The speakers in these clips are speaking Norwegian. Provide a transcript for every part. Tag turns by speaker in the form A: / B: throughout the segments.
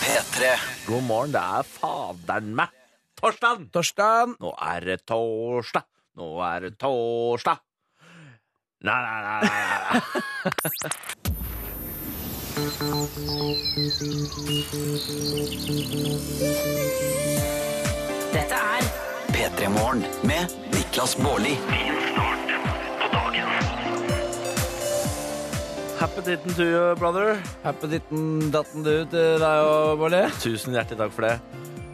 A: P3.
B: God morgen, det er faderen meg. Torsdag!
C: Torstein.
B: Nå er det torsdag. Nå er det torsdag. Nei, nei, nei, nei, nei.
D: Dette er
A: P3 Morgen med Niklas Baarli.
B: Happy ditten to you, brother.
C: Happy ditten datten du til deg og Bolle.
B: Tusen hjertelig takk for det.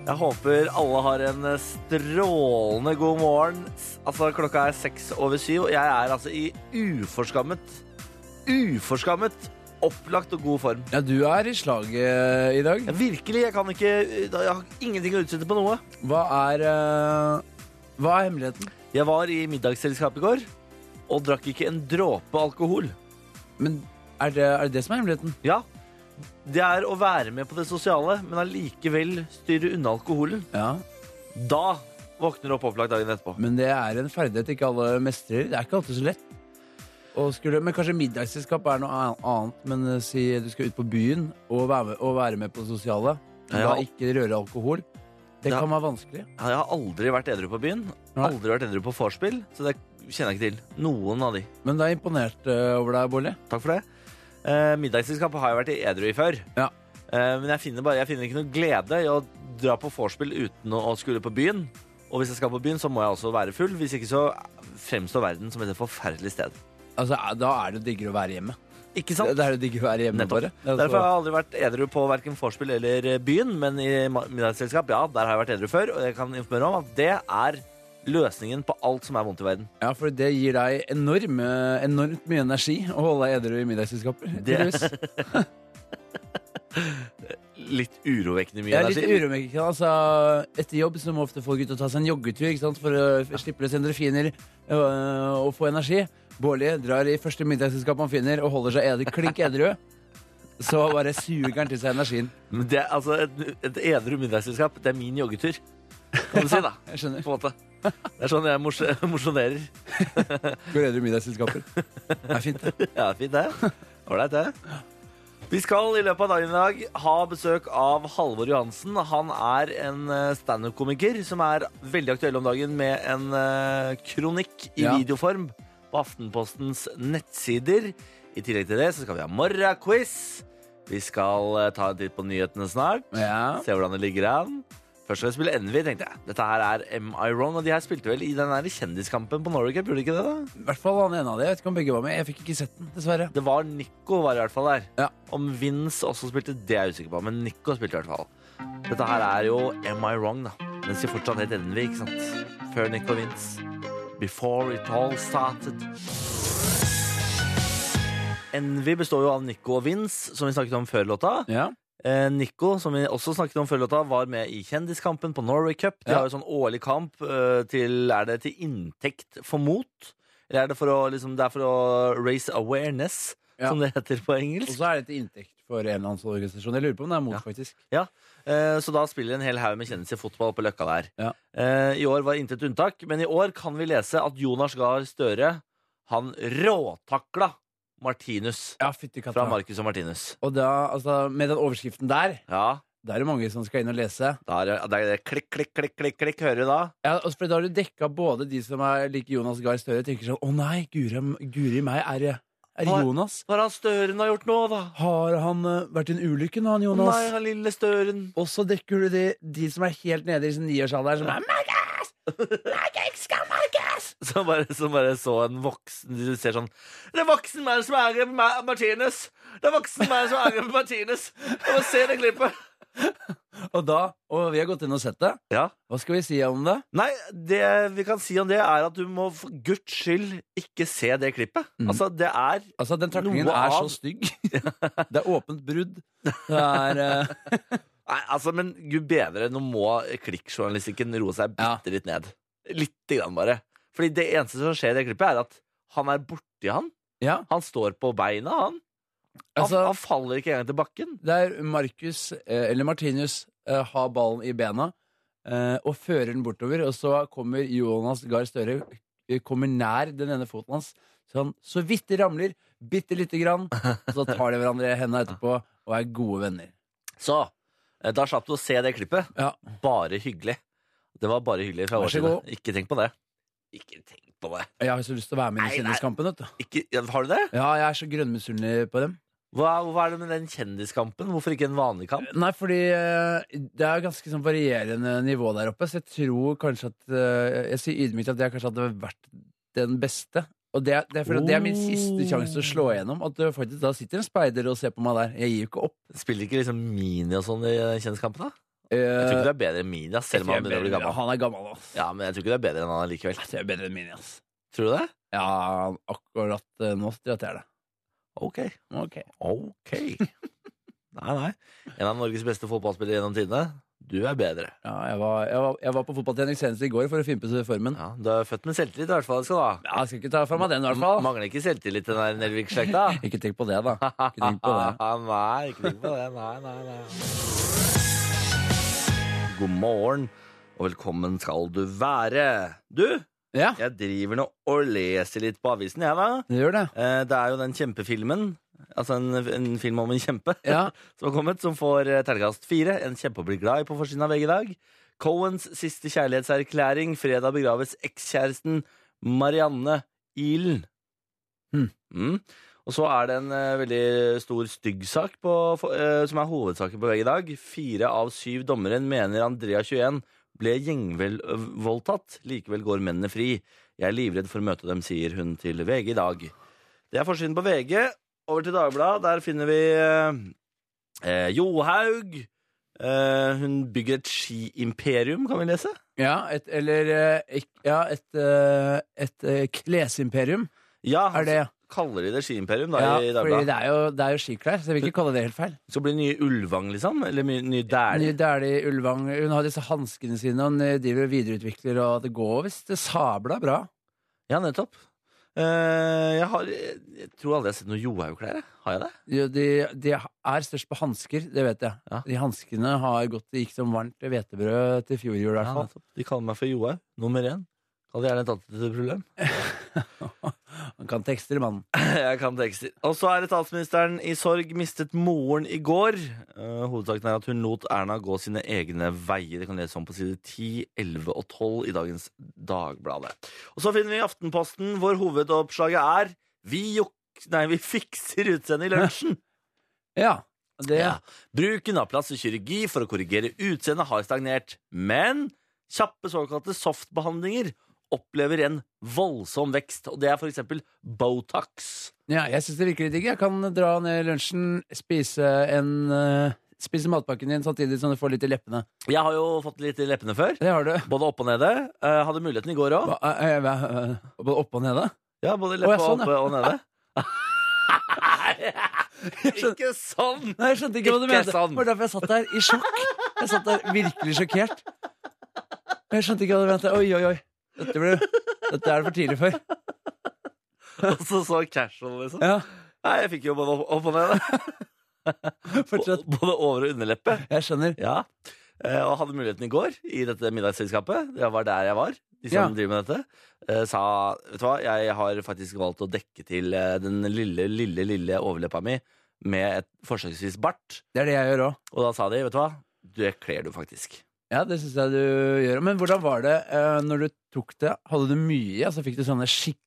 B: Jeg håper alle har en strålende god morgen. S- Altså, klokka er seks over syv, og jeg er altså i uforskammet, uforskammet, opplagt og god form.
C: Ja, du er i slaget i dag.
B: Jeg, virkelig, jeg kan ikke, eh, jeg har ingenting å utsette på noe.
C: Hva er eh, Hva er hemmeligheten?
B: Jeg var i middagsselskap i går, og drakk ikke en dråpe alkohol.
C: Men er det, er det det som er hemmeligheten?
B: Ja, det er å være med på det sosiale, men allikevel styre unna alkoholen.
C: Ja,
B: Da våkner du opp opplagt dagen etterpå.
C: men det er en ferdighet ikke alle mestrer. Det er ikke alltid så lett. Å skulle, men kanskje middagsselskap er noe an- annet. Men eh, si du skal ut på byen og være med, og være med på det sosiale. Men
B: Ja.
C: da ikke røre alkohol. Det
B: Ja.
C: kan være vanskelig.
B: Jeg har aldri vært edru på byen.
C: Nei.
B: Aldri vært edru på vorspiel, så det kjenner jeg ikke til. Noen av de.
C: Men det er imponert eh, over deg, Bolle.
B: Takk for det. Eh, middagsselskap har jeg vært i edru i før.
C: Ja.
B: Eh, men jeg finner, bare, jeg finner ikke noe glede i å dra på vorspiel uten å, å skulle på byen. Og hvis jeg skal på byen, så må jeg også være full. Hvis ikke så fremstår verden som et forferdelig sted.
C: Altså, da er det diggere å være hjemme.
B: Ikke
C: Det, altså-
B: sant?
C: det er det diggere å være hjemme,
B: Nettopp.
C: bare.
B: Derfor har jeg aldri vært edru på hverken vorspiel eller eh, byen, men i ma- middagsselskap, ja, der har jeg vært edru før, og jeg kan informere om at det er løsningen på alt som er vondt i verden.
C: Ja, for det gir deg enorm, eh, enormt mye energi å holde deg edru i middagsselskaper.
B: Det-
C: tydeligvis.
B: Litt urovekkende mye
C: Jeg er litt
B: energi.
C: urovekkende. Altså, etter jobb så må ofte folk ut og ta seg en joggetur ikke sant? for å f- slippe løs endorfiner øh, og få energi. Bårli drar i første middagsselskap han finner, og holder seg edru, klink edru. Så bare suger han til seg energien.
B: Men det, altså, et, et edru middagsselskap, det er min joggetur, kan du si, da.
C: Jeg skjønner.
B: På en måte. Det er sånn jeg mos mosjonerer.
C: Går edru i middagsselskaper. Det er fint, det.
B: Ja, fint det. Ålreit, det. Vi skal i løpet av dagen i dag ha besøk av Halvor Johansen. Han er en eh, standup-komiker som er veldig aktuell om dagen med en eh, kronikk i
C: Ja.
B: videoform på Aftenpostens nettsider. I tillegg til det så skal vi ha morgenquiz. Vi skal eh, ta en titt på nyhetene snart.
C: Ja.
B: Se hvordan det ligger an. Først skal vi spille Envy, tenkte jeg. Dette her er Am I Wrong, og de her spilte vel i den her kjendiskampen på Norway Cup, gjorde de ikke det? da?
C: I hvert fall han ene av de. Jeg vet ikke om begge var med. Jeg fikk ikke sett den, dessverre.
B: Det var Nico var i hvert fall der.
C: Ja.
B: Om Vince også spilte, det er jeg usikker på, men Nico spilte i hvert fall. Dette her er jo Am I Wrong, da. Mens de fortsatt het Envy, ikke sant? Før Nico og Vince. Before it all started. Envy består jo av Nico og Vince, som vi snakket om før låta.
C: Ja.
B: Eh, Nico, som vi også snakket om før låta, var med i Kjendiskampen på Norway Cup. De
C: Ja.
B: har jo sånn årlig kamp eh, til Er det til inntekt for mot? Eller er det for å, liksom, det er for å raise awareness,
C: Ja.
B: som det heter på
C: Og
B: engelsk?
C: så er det til inntekt for en eller annen sånn organisasjon. Jeg lurer på om det er mot,
B: Ja.
C: faktisk.
B: Ja, eh, Så da spiller en hel haug med kjendiser fotball på Løkka der.
C: Ja.
B: Eh, I år var intet unntak, men i år kan vi lese at Jonas Gahr Støre han råtakla Martinus
C: Ja, fytti katta.
B: fra Marcus og Martinus.
C: Og da, altså, med den overskriften der,
B: Ja,
C: da er det mange som skal inn og lese.
B: da er det, da er det klikk, klikk, klikk, klikk, klikk, hører du da?
C: Ja, og for Da har du dekka både de som er like Jonas Gahr Støre, tenker sånn Å nei, guri, guri meg, er det er det
B: Hva-
C: Jonas?
B: Hva har han Støren har gjort nå, da?
C: Har han eh, vært i en ulykke nå, han Jonas?
B: Nei, han lille støren.
C: Og så dekker du de, de som er helt nede i sin niårsalderen, som er Marcus! Marcus skal Marcus!
B: Som bare, som bare så en voksen Du ser sånn Det er voksen mann som er med Ma- Martinez! Det er voksen mann som er med Martinez! Og se det klippet!
C: Og da, og vi har gått inn og sett det,
B: Ja.
C: hva skal vi si om det?
B: Nei, det vi kan si om det, er at du må for guds skyld ikke se det klippet.
C: Mm.
B: Altså, det er
C: Altså, den traklingen
B: Noe
C: er
B: av-
C: så stygg. Det er åpent brudd. Det er eh,
B: Nei, altså, men gud bedre, nå må klikkjournalistikken roe seg
C: Ja.
B: bitte litt ned. Lite grann, bare. Fordi det eneste som skjer i det klippet, er at han er borti han.
C: Ja.
B: Han står på beina, han. Han,
C: Altså,
B: han faller ikke engang til bakken.
C: der Marcus, eh, eller Martinus, eh, har ballen i bena eh, og fører den bortover. Og så kommer Jonas Gahr Støre eh, kommer nær den ene foten hans, så han så vidt de ramler, bitte lite grann. Og så tar de hverandre i hendene etterpå og er gode venner.
B: Så Eh, Da slapp du å se det klippet.
C: Ja.
B: Bare hyggelig. Det var bare hyggelig fra
C: Vær
B: vår
C: så
B: side.
C: god.
B: Ikke tenk på det. Ikke tenk på det.
C: Jeg har så lyst til å være med
B: Nei,
C: i
B: nei.
C: Kjendiskampen. vet du.
B: Ikke, ja, har du det?
C: Ja, jeg er så grønnmisunnelig på dem.
B: Hva, hva er det med den kjendiskampen? Hvorfor ikke en vanlig kamp?
C: Nei, fordi eh, det er jo ganske sånn varierende nivå der oppe, så jeg tror kanskje at eh, Jeg sier ydmykt at jeg kanskje hadde vært den beste. Og det, er- det, er fordi at det er min siste sjanse til å slå igjennom. At det faktisk da sitter en speider og ser på meg der. Jeg gir jo ikke opp.
B: Spiller ikke liksom Mini og sånn i eh, kjendiskampen? da? Jeg
C: Eh,
B: tror ikke du er bedre enn Mini, ass, selv om han begynner å bli gammel.
C: Han er gammel, ass.
B: Ja, men jeg tror ikke du er bedre enn han likevel.
C: Jeg tror jeg er bedre enn min, ass.
B: Tror du det?
C: Ja, akkurat eh, nå strøt jeg det.
B: Ok.
C: Ok.
B: Ok. Nei, nei. En av Norges beste fotballspillere gjennom tidene. Du er bedre.
C: Ja, jeg var, jeg var, jeg var på fotballtrening senest i går for å fimpe formen.
B: Ja, du er født med selvtillit, i hvert fall. skal du ha.
C: Ja, jeg skal ikke ta fra meg den, i hvert fall.
B: Mangler ikke selvtillit, den der Nelvik-slekta.
C: Ikke tenk på det, da. Ikke tenk på det.
B: nei, ikke tenk på det. Nei, nei, nei. God morgen, og velkommen skal du være. Du,
C: Ja,
B: jeg driver nå og leser litt på avisen, jeg, da.
C: det gjør det.
B: Eh, Det er jo den kjempefilmen, altså en, en film om en kjempe,
C: Ja,
B: som har kommet, som får eh, terningkast fire. En kjempe å bli glad i på forsiden av VG i dag. Cohens siste kjærlighetserklæring. Fredag begraves ekskjæresten Marianne Ilen.
C: Hmm.
B: Mm. Og så er det en eh, veldig stor styggsak på, for- eh, som er hovedsaken på VG i dag. Fire av syv dommeren mener Andrea 21 ble gjengvoldtatt. Likevel går mennene fri. Jeg er livredd for å møte dem, sier hun til VG i dag. Det er forsiden på VG. Over til Dagbladet. Der finner vi eh, Eh, Johaug. Eh, hun bygger et skiimperium, kan vi lese?
C: ja et, eller eh, ikk- ja, et, eh, et eh, klesimperium
B: Ja,
C: er det.
B: kaller de det skiimperium da,
C: Ja,
B: i
C: fordi
B: Dagbladet.
C: det er jo, det er jo skiklær, så jeg vil ikke kalle det helt feil.
B: Så blir det nye Ulvang, liksom? Eller my- nye
C: Ny
B: Dæhlie?
C: Dæhlie Ulvang Hun har disse hanskene sine, og hun eh, driver og videreutvikler, og det går visst sabla bra.
B: Ja, nettopp. Eh, jeg, har, jeg tror aldri jeg har sett noe Johaug-klær. jeg. Har jeg det?
C: Jo, de, de er størst på hansker, det vet jeg.
B: Ja.
C: De hanskene har gått, det gikk som varmt hvetebrød til fjor jul, i hvert
B: Ja,
C: fall.
B: nettopp. De kaller meg for Johaug. Nummer én. Hadde gjerne tatt det til problem. altså.
C: Han kan tekster, mannen.
B: Jeg kan tekster. Og så er det statsministeren i sorg mistet moren i går. Eh, hovedsaken er at hun lot Erna gå sine egne veier. Det kan leses om på side 10, 11 og 12 i dagens Dagbladet. Og så finner vi Aftenposten, hvor hovedoppslaget er Vi, juk nei, vi fikser utseendet i lunsjen.
C: Ja, det
B: Ja. Bruken av plastisk kirurgi for å korrigere utseendet har stagnert. Men kjappe såkalte softbehandlinger opplever en voldsom vekst. Og det er f.eks. Botox.
C: Ja, jeg syns det virker litt digg. Jeg kan dra ned i lunsjen, spise en eh, Spise matpakken din samtidig som du får litt i leppene.
B: Jeg har jo fått litt i leppene før.
C: Det har du.
B: Både opp og nede. Eh, hadde muligheten i går òg.
C: Hva, eh, hva, eh, Både opp og nede?
B: Ja, både
C: Å,
B: leppe
C: ja, sånn,
B: oppe
C: ja.
B: og nede. Ikke sånn!
C: Nei, jeg skjønte ikke hva du
B: Ikke
C: mente.
B: sånn.
C: Det var derfor jeg satt der i sjokk. Jeg satt der virkelig sjokkert. Jeg skjønte ikke hva du mente. Oi, oi, oi. Dette, ble, dette er det for tidlig for.
B: Og så så casual, liksom.
C: Ja,
B: Nei, jeg fikk jo både opp- opp og nede.
C: fortsett.
B: Både over- og underleppe.
C: Jeg skjønner.
B: Ja. Eh, og hadde muligheten i går i dette middagsselskapet. Det var der jeg var. De som
C: Ja.
B: driver med dette. eh, sa Vet du hva, jeg har faktisk valgt å dekke til eh, den lille, lille, lille overleppa mi med et forsøksvis bart.
C: Det er det jeg gjør òg.
B: Og da sa de, vet du hva, det kler du faktisk.
C: Ja, det syns jeg du gjør. Men hvordan var det eh, når du tok det? Hadde du mye? Altså, fikk du sånne skikkelig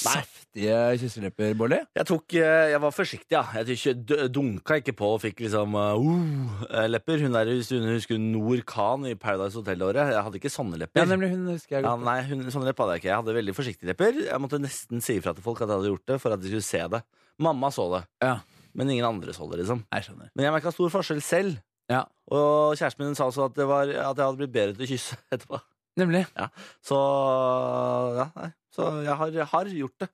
C: saftige kysselepper, Bolli?
B: Jeg tok, eh, jeg var forsiktig, ja. Jeg tok ikke- d- dunka ikke på og fikk liksom uh, uh, lepper. Hun der, hvis du husker Noor Khan i Paradise Hotel-året, jeg hadde ikke sånne lepper.
C: Ja, nemlig hun husker jeg
B: Ja,
C: godt.
B: nei, hun, sånne lepper hadde jeg ikke. Jeg hadde veldig forsiktige lepper. Jeg måtte nesten si ifra til folk at jeg hadde gjort det, for at de skulle se det. Mamma så det,
C: Ja.
B: men ingen andre så det, liksom.
C: Jeg skjønner.
B: Men jeg merka stor forskjell selv.
C: Ja.
B: Og kjæresten min sa også at, det var, at jeg hadde blitt bedre til å kysse etterpå.
C: Nemlig.
B: Så ja, nei. Så jeg har, jeg har gjort det.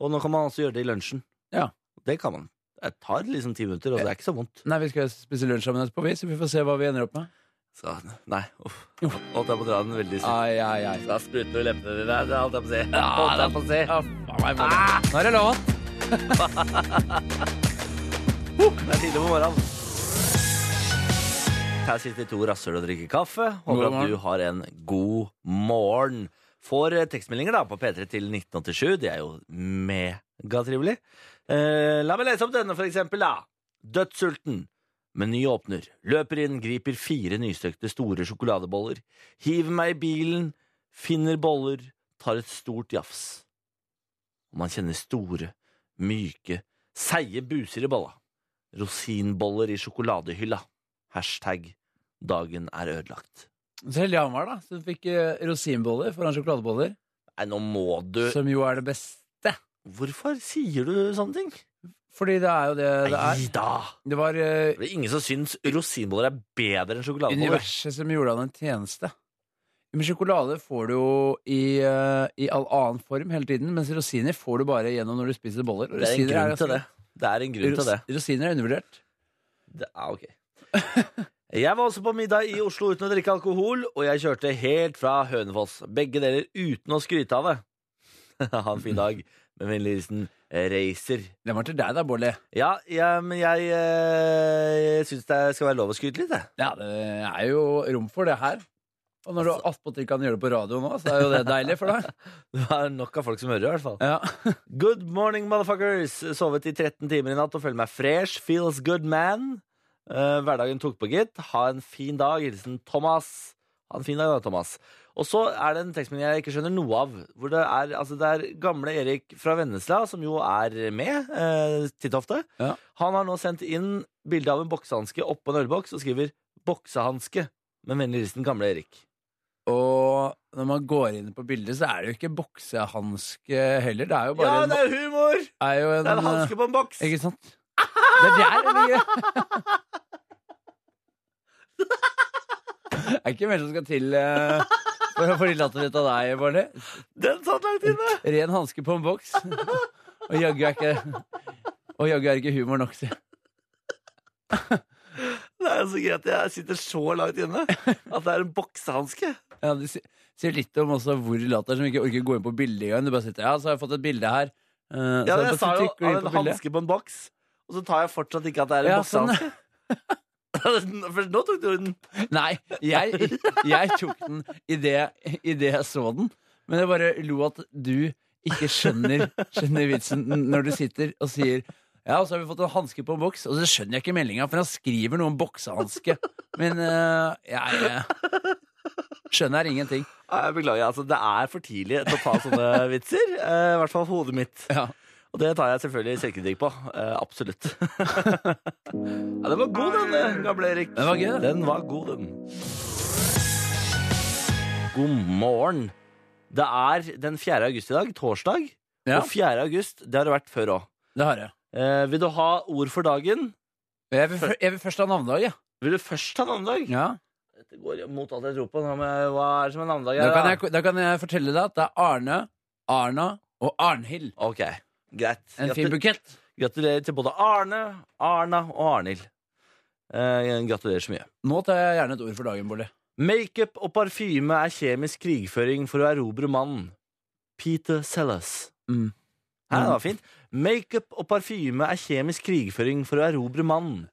B: Og nå kan man altså gjøre det i lunsjen.
C: Ja.
B: Det kan man. Det tar liksom ti minutter, og det er ikke så vondt.
C: Nei, vi skal spise lunsj sammen etterpå, vi, så vi får se hva vi ender opp med.
B: Så nei, uff. Holdt jeg på å dra den veldig sint.
C: Ai, ai, ai.
B: Da spruter jo leppene dine. Det holdt jeg på å si. Holdt
C: Ja,
B: jeg på å si.
C: Ja, faen meg, Bolli.
B: Ah!
C: Nå er det lov.
B: Det er tidlig på morgenen. Her sitter to rasshøl og drikker kaffe.
C: God
B: Håper at
C: morgen.
B: du har en god morgen. Får eh, tekstmeldinger da på P3 til 1987. Det er jo megatrivelig. Eh, la meg lese opp denne, for eksempel. Da. Dødssulten. Meny åpner, løper inn, griper fire nystøkte store sjokoladeboller, hiver meg i bilen, finner boller, tar et stort jafs. Og man kjenner store, myke, seige buser i bolla. Rosinboller i sjokoladehylla. Hashtag dagen er ødelagt.
C: Så heldig han var, da. Så du fikk eh, rosinboller foran sjokoladeboller.
B: Nei, nå må du
C: Som jo er det beste.
B: Hvorfor sier du sånne ting?
C: Fordi det er jo det det er.
B: Nei da!
C: Det var eh,
B: Det er ingen som syns rosinboller er bedre enn sjokoladeboller.
C: universet som gjorde han en tjeneste. Men sjokolade får du jo i, eh, i all annen form hele tiden, mens rosiner får du bare gjennom når du spiser boller. Og
B: Det er en
C: rosiner
B: grunn til det.
C: ganske-
B: Det er en grunn til det.
C: Ros- Rosiner er undervurdert.
B: Det er ok. Jeg var også på middag i Oslo uten å drikke alkohol, og jeg kjørte helt fra Hønefoss. Begge deler uten å skryte av det. ha en fin dag. Med vennlig hilsen eh, Racer.
C: Den var til deg da, Bårdli.
B: Ja, ja, men jeg, eh, syns det skal være lov å skryte litt, jeg.
C: Ja, det er jo rom for det her. Og når du
B: Altså-
C: attpåtil kan gjøre det på radio nå, så er jo det deilig for deg.
B: Det er nok av folk som hører, i hvert fall.
C: Ja.
B: Good morning, motherfuckers! Sovet i 13 timer i natt og føler meg fresh. Feels good, man. Eh, hverdagen tok på, gitt. Ha en fin dag. Hilsen Thomas. Ha en fin dag, da, Thomas. Og så er det en tekstmelding jeg ikke skjønner noe av. Hvor det er, altså det er gamle Erik fra Vennesla, som jo er med eh, titt og ofte.
C: Ja.
B: Han har nå sendt inn bilde av en boksehanske oppå en ølboks og skriver 'boksehanske'. Med vennlig hilsen gamle Erik.
C: Og når man går inn på bildet, så er det jo ikke boksehanske heller. Det er jo bare
B: Ja,
C: en,
B: det er humor! eh,
C: er jo en, eh,
B: Det er en hanske på en boks!
C: Ikke sant? Det er der vi Det er ikke mer som skal til eh, for å få litt latter ut av deg, Barley.
B: Den satt langt inne!
C: Ren hanske på en boks. Og jaggu er ikke Og jaggu er ikke humor nok, si.
B: Det er jo så gøy at jeg sitter så langt inne at det er en boksehanske.
C: Ja, det si- sier litt om også hvor latter som ikke orker gå inn på bildet engang. Du bare sitter Ja, så har jeg fått et bilde her. Eh, så
B: Ja, men
C: bare
B: jeg sa jo
C: trykker du inn
B: av en
C: på bildet.
B: hanske på en boks, og så tar jeg fortsatt ikke at det er en
C: Ja, sånn,
B: boksehanske. For nå tok du den.
C: Nei, jeg, jeg tok den idet jeg så den. Men jeg bare lo at du ikke skjønner, skjønner vitsen n- når du sitter og sier ja, og så har vi fått en hanske på en boks, og så skjønner jeg ikke meldinga, for han skriver noe om boksehanske. Men eh, jeg eh, skjønner ingenting.
B: Ja, Jeg beklager, altså det er for tidlig til å ta sånne vitser. eh, I hvert fall for hodet mitt.
C: Ja.
B: Og det tar jeg selvfølgelig selvkritikk på. eh, Absolutt. Ja, den var god, den eh, gamle Erik.
C: Den var gøy, den.
B: Den var god, den. God morgen. Det er den 4. august i dag, torsdag.
C: ja,
B: Og 4. august, det har det vært før òg.
C: det har jeg.
B: Eh, vil du ha ord for dagen?
C: Jeg vil, fø- jeg vil først ha navnedag, jeg.
B: Vil du først ha navnedag?
C: Ja.
B: Dette går jo mot alt jeg tror på. Nå må jeg, hva er det som er navnedag?
C: Da,
B: her,
C: kan
B: da?
C: jeg, da kan jeg fortelle deg at det er Arne, Arna og Arnhild.
B: Ok, greit.
C: En
B: Gratu-
C: fin bukett.
B: gratulerer til både Arne, Arna og Arnhild. Eh, gratulerer så mye.
C: Nå tar jeg gjerne et ord for dagen, Bolle.
B: Makeup og parfyme er kjemisk krigføring for å erobre mannen. Peter Sellers.
C: Mm.
B: Hæ, det var fint. Makeup og parfyme er kjemisk krigføring for å erobre mannen.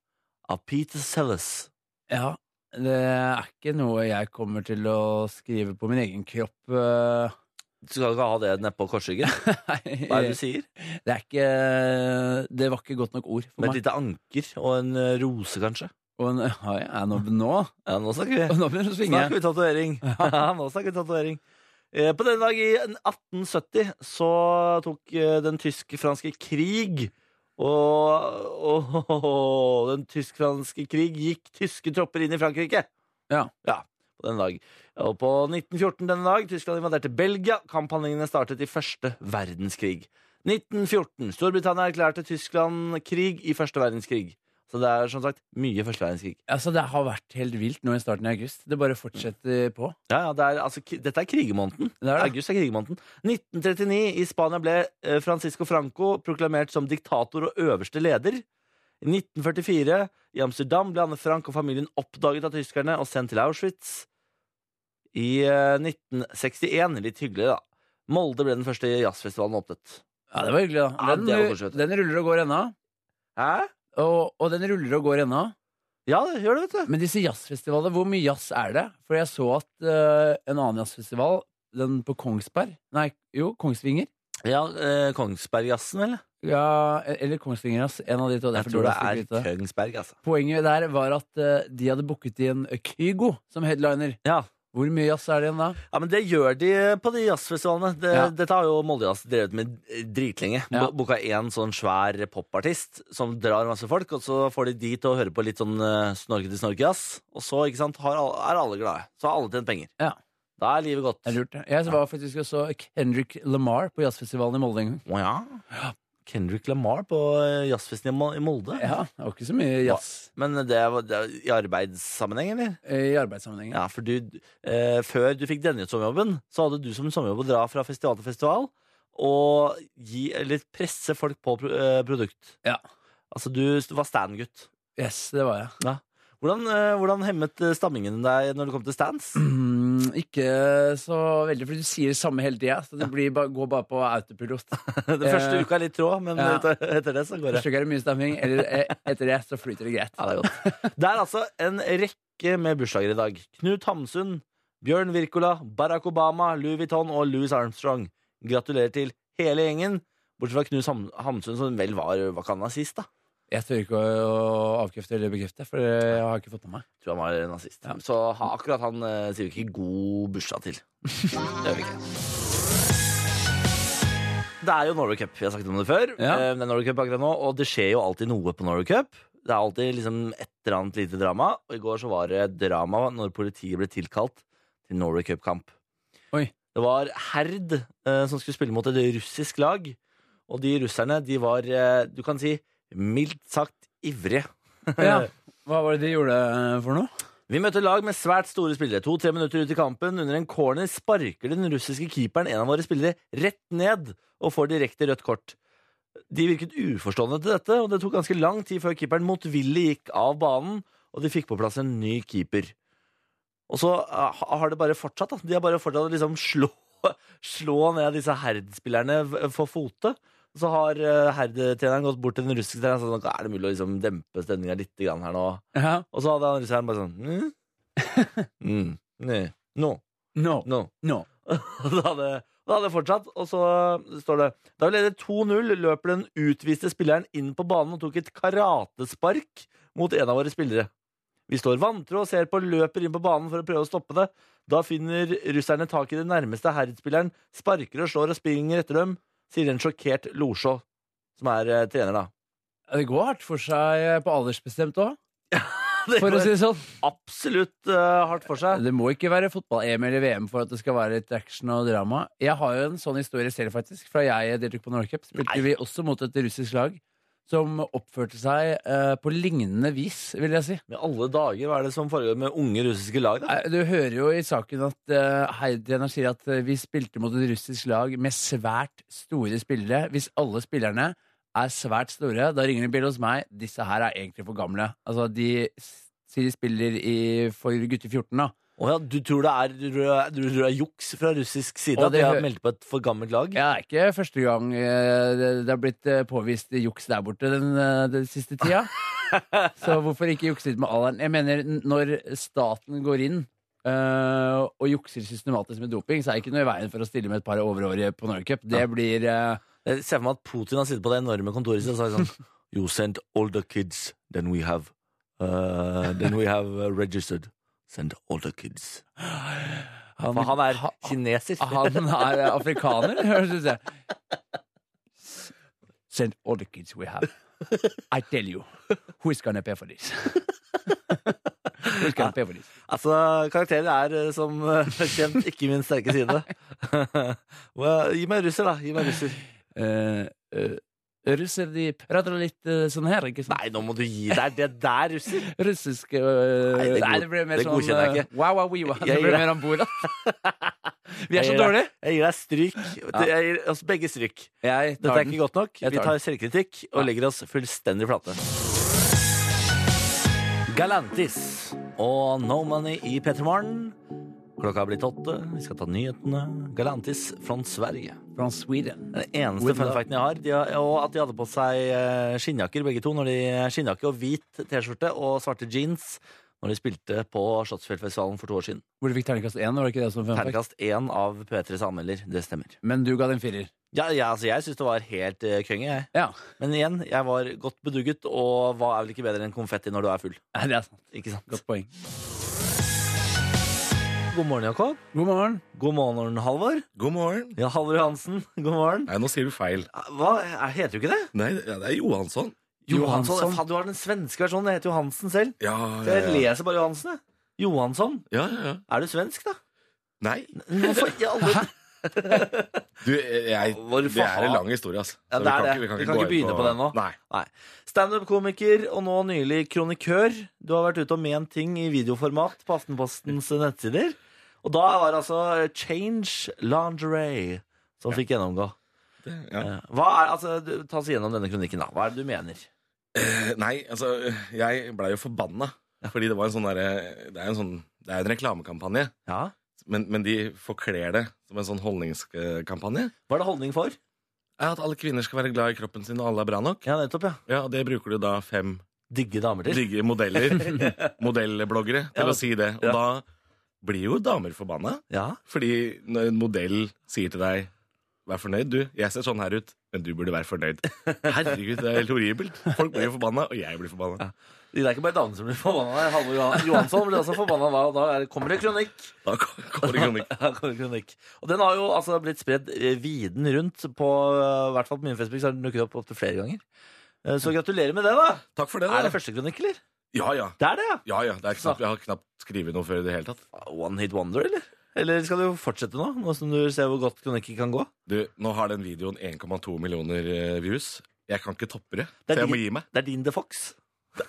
B: Av Peter Sellers.
C: Ja, det er ikke noe jeg kommer til å skrive på min egen kropp. eh.
B: Skal du ikke ha det nedpå korsryggen? Hva er det du sier?
C: Det er ikke Det var ikke godt nok ord for
B: Med et
C: meg.
B: lite anker og en eh, rose, kanskje.
C: Og en, ja, jeg er nå, nå,
B: Ja, nå snakker vi.
C: nå begynner det å svinge.
B: Snakker vi tatovering. Ja, nå snakker vi tatovering. Eh, På denne dag i 1870 så tok eh, den tysk-franske krig og, og, den tysk-franske krig gikk tyske tropper inn i Frankrike.
C: Ja.
B: på denne dag. Og på 1914 denne dag, Tyskland invaderte Belgia. Kampanjene startet i første verdenskrig. 1914. Storbritannia erklærte Tyskland krig i første verdenskrig. Så det er som sagt mye første verdenskrig.
C: Altså, det har vært helt vilt nå i starten av august. Det bare fortsetter på.
B: Ja, ja, det er, altså, k- Dette er krigermåneden.
C: Det er det.
B: August er krigermåneden. 1939 i Spania ble eh, Francisco Franco proklamert som diktator og øverste leder. I 1944 i Amsterdam ble Anne Frank og familien oppdaget av tyskerne og sendt til Auschwitz. I eh, 1961, litt hyggelig da, Molde ble den første jazzfestivalen åpnet.
C: Ja, det var hyggelig, da.
B: Ja,
C: Den,
B: det var koselig, vet du.
C: den ruller og går ennå.
B: Hæ?
C: Og, og den ruller og går ennå.
B: Ja, det gjør det, vet du.
C: Men disse jazzfestivalene, hvor mye jazz er det? For jeg så at eh, en annen jazzfestival, den på Kongsberg Nei, jo, Kongsvinger.
B: Ja, eh, Kongsbergjazzen, eller?
C: Ja, eller Kongsvinger, ass. En av de to.
B: Jeg
C: Derfor
B: tror
C: du
B: det
C: fikk
B: er
C: vite det.
B: Kongsberg, altså.
C: Poenget der var at eh, de hadde booket inn Kygo som headliner.
B: Ja.
C: Hvor mye jazz er det igjen da?
B: ja, men det gjør de på de jazzfestivalene. Det,
C: Ja.
B: Dette har jo Moldejazz drevet med dritlenge.
C: Ja.
B: Ja. Boka én sånn svær popartist som drar masse folk, og så får de de til å høre på litt sånn eh, snorkete-snorkejazz. Og så ikke sant, har, alle- er alle glade. Så har alle tjent penger.
C: Ja.
B: Da er livet godt.
C: Det er lurt. det. Jeg var faktisk og så Kendrick Lamar på jazzfestivalen i Molde en gang.
B: Å ja. Kendrick Lamar på eh, jazzfesten i Mo- i Molde.
C: Ja, det var ikke så mye jazz
B: Men det var, det var i arbeidssammenheng, eller?
C: eh, i arbeidssammenheng.
B: Ja, for du, eh, før du fikk denne sommerjobben, så hadde du som sommerjobb å dra fra festival til festival og gi, eller presse folk på pro eh, produkt.
C: Ja.
B: Altså, du st- var stand-gutt.
C: Yes, det var jeg.
B: Hvordan, eh, hvordan hemmet eh, stammingen deg når det kom til stands?
C: Mm, ikke så veldig, for du sier det samme hele tida. Så det blir bare, går bare på autopilot.
B: Den første
C: Eh,
B: uka er litt trå, men
C: ja.
B: etter, etter det så går det.
C: Første gang er det mye stamming, eller eh, etter det så flyter det greit.
B: Ja, det er godt. Det er altså en rekke med bursdager i dag. Knut Hamsun, Bjørn Wirkola, Barack Obama, Louis Vuitton og Louis Armstrong. Gratulerer til hele gjengen. Bortsett fra Knut Ham Hamsun, som vel var hva kan han ha sist, da?
C: Jeg tør ikke å å avkrefte eller bekrefte, for jeg har ikke fått med meg.
B: Tror han var nazist.
C: Ja.
B: Så ha, akkurat han eh, sier vi ikke god bursdag til. det gjør vi ikke. Det er jo Norway Cup, vi har sagt om det før.
C: Ja.
B: Eh, Det er Norway Cup akkurat nå, og det skjer jo alltid noe på Norway Cup. Det er alltid liksom et eller annet lite drama. Og i går så var det drama når politiet ble tilkalt til Norway Cup-kamp.
C: Oi.
B: Det var Herd eh, som skulle spille mot et russisk lag. Og de russerne, de var, eh, du kan si, mildt sagt ivrige.
C: Ja. Hva var det de gjorde eh, for noe?
B: Vi møter lag med svært store spillere. To-tre minutter ut i kampen, under en corner, sparker den russiske keeperen en av våre spillere rett ned og får direkte rødt kort. De virket uforstående til dette, og det tok ganske lang tid før keeperen motvillig gikk av banen, og de fikk på plass en ny keeper. Og så eh, ha- har det bare fortsatt. Da. De har bare fortsatt å liksom slå, slå ned disse Herd-spillerne v- for fote. Så har eh, Herd-treneren gått bort til den russiske treneren og sagt er det mulig å liksom dempe stemninga litt grann her nå.
C: Ja.
B: Og så hadde han russeren bare sånn mm? mm. Nei. No.
C: No.
B: No.
C: No.
B: Og da hadde, da hadde det fortsatt, og så står det Da vi ledet 2-0, løper den utviste spilleren inn på banen og tok et karatespark mot en av våre spillere. Vi står vantro og ser på, løper inn på banen for å prøve å stoppe det. Da finner russerne tak i den nærmeste herredspilleren, sparker og slår og springer etter dem, sier en sjokkert Losjå, som er eh, trener, da.
C: Ja, Det går hardt for seg eh, på aldersbestemt òg,
B: Det
C: for å
B: går
C: si det sånn.
B: absolutt eh, hardt for seg.
C: Det må ikke være fotball-EM eller VM for at det skal være litt action og drama. Jeg har jo en sånn historie selv, faktisk. Fra jeg deltok på Norway Cup, spilte
B: Nei.
C: vi også mot et russisk lag som oppførte seg eh, på lignende vis, vil jeg si.
B: Med alle dager, hva er det som foregår med unge russiske lag, da?
C: Eh, Du hører jo i saken at uh, Heidrener sier at eh, vi spilte mot et russisk lag med svært store spillere. Hvis alle spillerne er svært store, da ringer det en bjelle hos meg. Disse her er egentlig for gamle. Altså, de s- sier de spiller i, for gutter 14, da.
B: Å ja, du tror det er, du, tror det er- du tror det er juks fra russisk side
C: Og
B: at de
C: det
B: har
C: hø-
B: meldt på et for gammelt lag?
C: Ja, det er ikke første gang eh, det det har blitt eh, påvist juks der borte den, eh, den siste tida. Så hvorfor ikke jukse litt med alderen? Jeg mener, n- når staten går inn eh, og jukser systematisk med doping, så er det ikke noe i veien for å stille med et par overårige på Norway Cup. Det blir eh,
B: Jeg ser for meg at Putin har sittet på det enorme kontoret sitt og sagt sånn You send older kids than we have uh, Than we have uh, registered. Send older kids.
C: han,
B: For han er
C: ha-
B: kineser.
C: han er eh, afrikaner, høres det ut som. Send all the kids we have. I tell you. Who is gonna pay for this? Who is gonna pay for this?
B: Altså, karakterer er eh, som eh, kjent ikke min sterke side. Well, gi meg russer, da. Gi meg russer.
C: Eh, eh, Russer de prater litt eh, sånn her, ikke sant?
B: Nei, nå må du gi deg. Det der, russer.
C: Russisk eh,
B: Nei, det er
C: Nei,
B: god-
C: det ble mer
B: det
C: sånn
B: godkjenner jeg
C: eh, Wow, wow, wow.
B: Jeg
C: Det
B: gir
C: ble
B: deg-
C: mer om bord, Vi er
B: Jeg gir
C: så
B: deg-
C: dårlige.
B: Jeg gir deg stryk. Jeg gir oss begge stryk.
C: Jeg
B: Dette er ikke godt nok.
C: Jeg
B: Vi
C: tar
B: tar selvkritikk og
C: Ja.
B: legger oss fullstendig flate. Galantis og No Money i P3 Morgen. Klokka er blitt åtte. Vi skal ta nyhetene. Galantis fra Sverige.
C: From Sweden.
B: Den eneste
C: With
B: fun
C: love.
B: facten jeg har, de har, og at de hadde på seg eh, skinnjakker begge to. Når de, eh, skinnjakke og hvit T-skjorte og svarte jeans når de spilte på Slottsfjellfestivalen for to år siden.
C: Hvor du fikk terningkast én, var det ikke det som fun fact?
B: Terningkast én av P3s anmelder. Det stemmer.
C: Men du ga den firer.
B: Ja, ja, altså, jeg syns det var helt eh, kønge, jeg.
C: Ja,
B: Men igjen, jeg var godt bedugget, og hva er vel ikke bedre enn konfetti når du er full?
C: Nei, det er sant.
B: Ikke sant?
C: Godt poeng.
B: God morgen, Jakob.
C: God morgen.
B: God morgen, Halvor.
D: God morgen.
B: Ja, Halvor Johansen. God morgen.
D: Nei, nå sier du feil.
B: Hva er- heter du ikke det?
D: Nei, det er Johansson.
B: Johansson.
C: Johansson.
B: Faen, du har den svenske versjonen. Jeg heter Johansen selv.
D: Ja,
B: Så
D: ja,
B: jeg
D: ja.
B: leser bare Johansen, jeg. Johansson.
D: ja, ja, ja.
B: Er du svensk, da?
D: Nei,
B: Hvorfor i alle
D: du, eh, jeg,
B: Hvorfor
D: det er en
B: faen?
D: lang historie, ass.
B: Ja,
D: Så
B: det er det. Vi kan
D: gå
B: ikke
D: inn
B: begynne på den nå.
D: Nei.
B: Standup-komiker og nå nylig kronikør. Du har vært ute og ment ting i videoformat på Aftenpostens nettsider. Og da var det altså Change Lingerie som fikk gjennomgå.
D: Det, ja.
B: Eh, Hva er, altså, du, ta oss gjennom denne kronikken, da. Hva er det du mener?
D: Eh, Nei, altså, jeg blei jo forbanna. Fordi det var en sånn derre Det er en sånn Det er en reklamekampanje.
B: Ja.
D: Men, men de forkler det som en sånn holdningskampanje.
B: Hva er det holdning for?
D: Ja, At alle kvinner skal være glad i kroppen sin, og alle er bra nok.
B: Ja, nettopp, ja.
D: Ja, og Det bruker du da fem
B: Digge damer til.
D: digge modeller, modellbloggere, til
B: Ja.
D: å si det. Og
B: Ja.
D: da blir jo damer forbanna.
B: Ja.
D: Fordi når en modell sier til deg 'vær fornøyd, du, jeg ser sånn her ut', men du burde være fornøyd. Herregud, det er helt horribelt. Folk blir jo forbanna, og jeg blir forbanna.
B: Det er ikke bare damene som blir forbanna. Halvor Johan- Johansson blir også forbanna da, og da er det- kommer det kronikk.
D: Da kommer det kronikk.
B: Ja, kommer det kronikk. Og den har jo altså blitt spredd eh, viden rundt på eh, i hvert fall på min Facebook, så har den dukket opp opptil flere ganger. Eh, Så gratulerer med det, da.
D: Takk for det,
B: Er det
D: da.
B: første kronikk, eller?
D: Ja, ja.
B: Det er det, ja.
D: Ja, ja. Det er knapt, jeg har knapt skrevet noe før i det hele tatt.
B: Ah, One hit wonder, eller? Eller skal du fortsette nå, nå som du ser hvor godt kronikken kan gå?
D: Du, nå har den videoen 1,2 millioner eh, views. Jeg kan ikke toppe det,
B: Det er
D: så jeg må
B: din-
D: gi meg.
B: Det er din The Fox.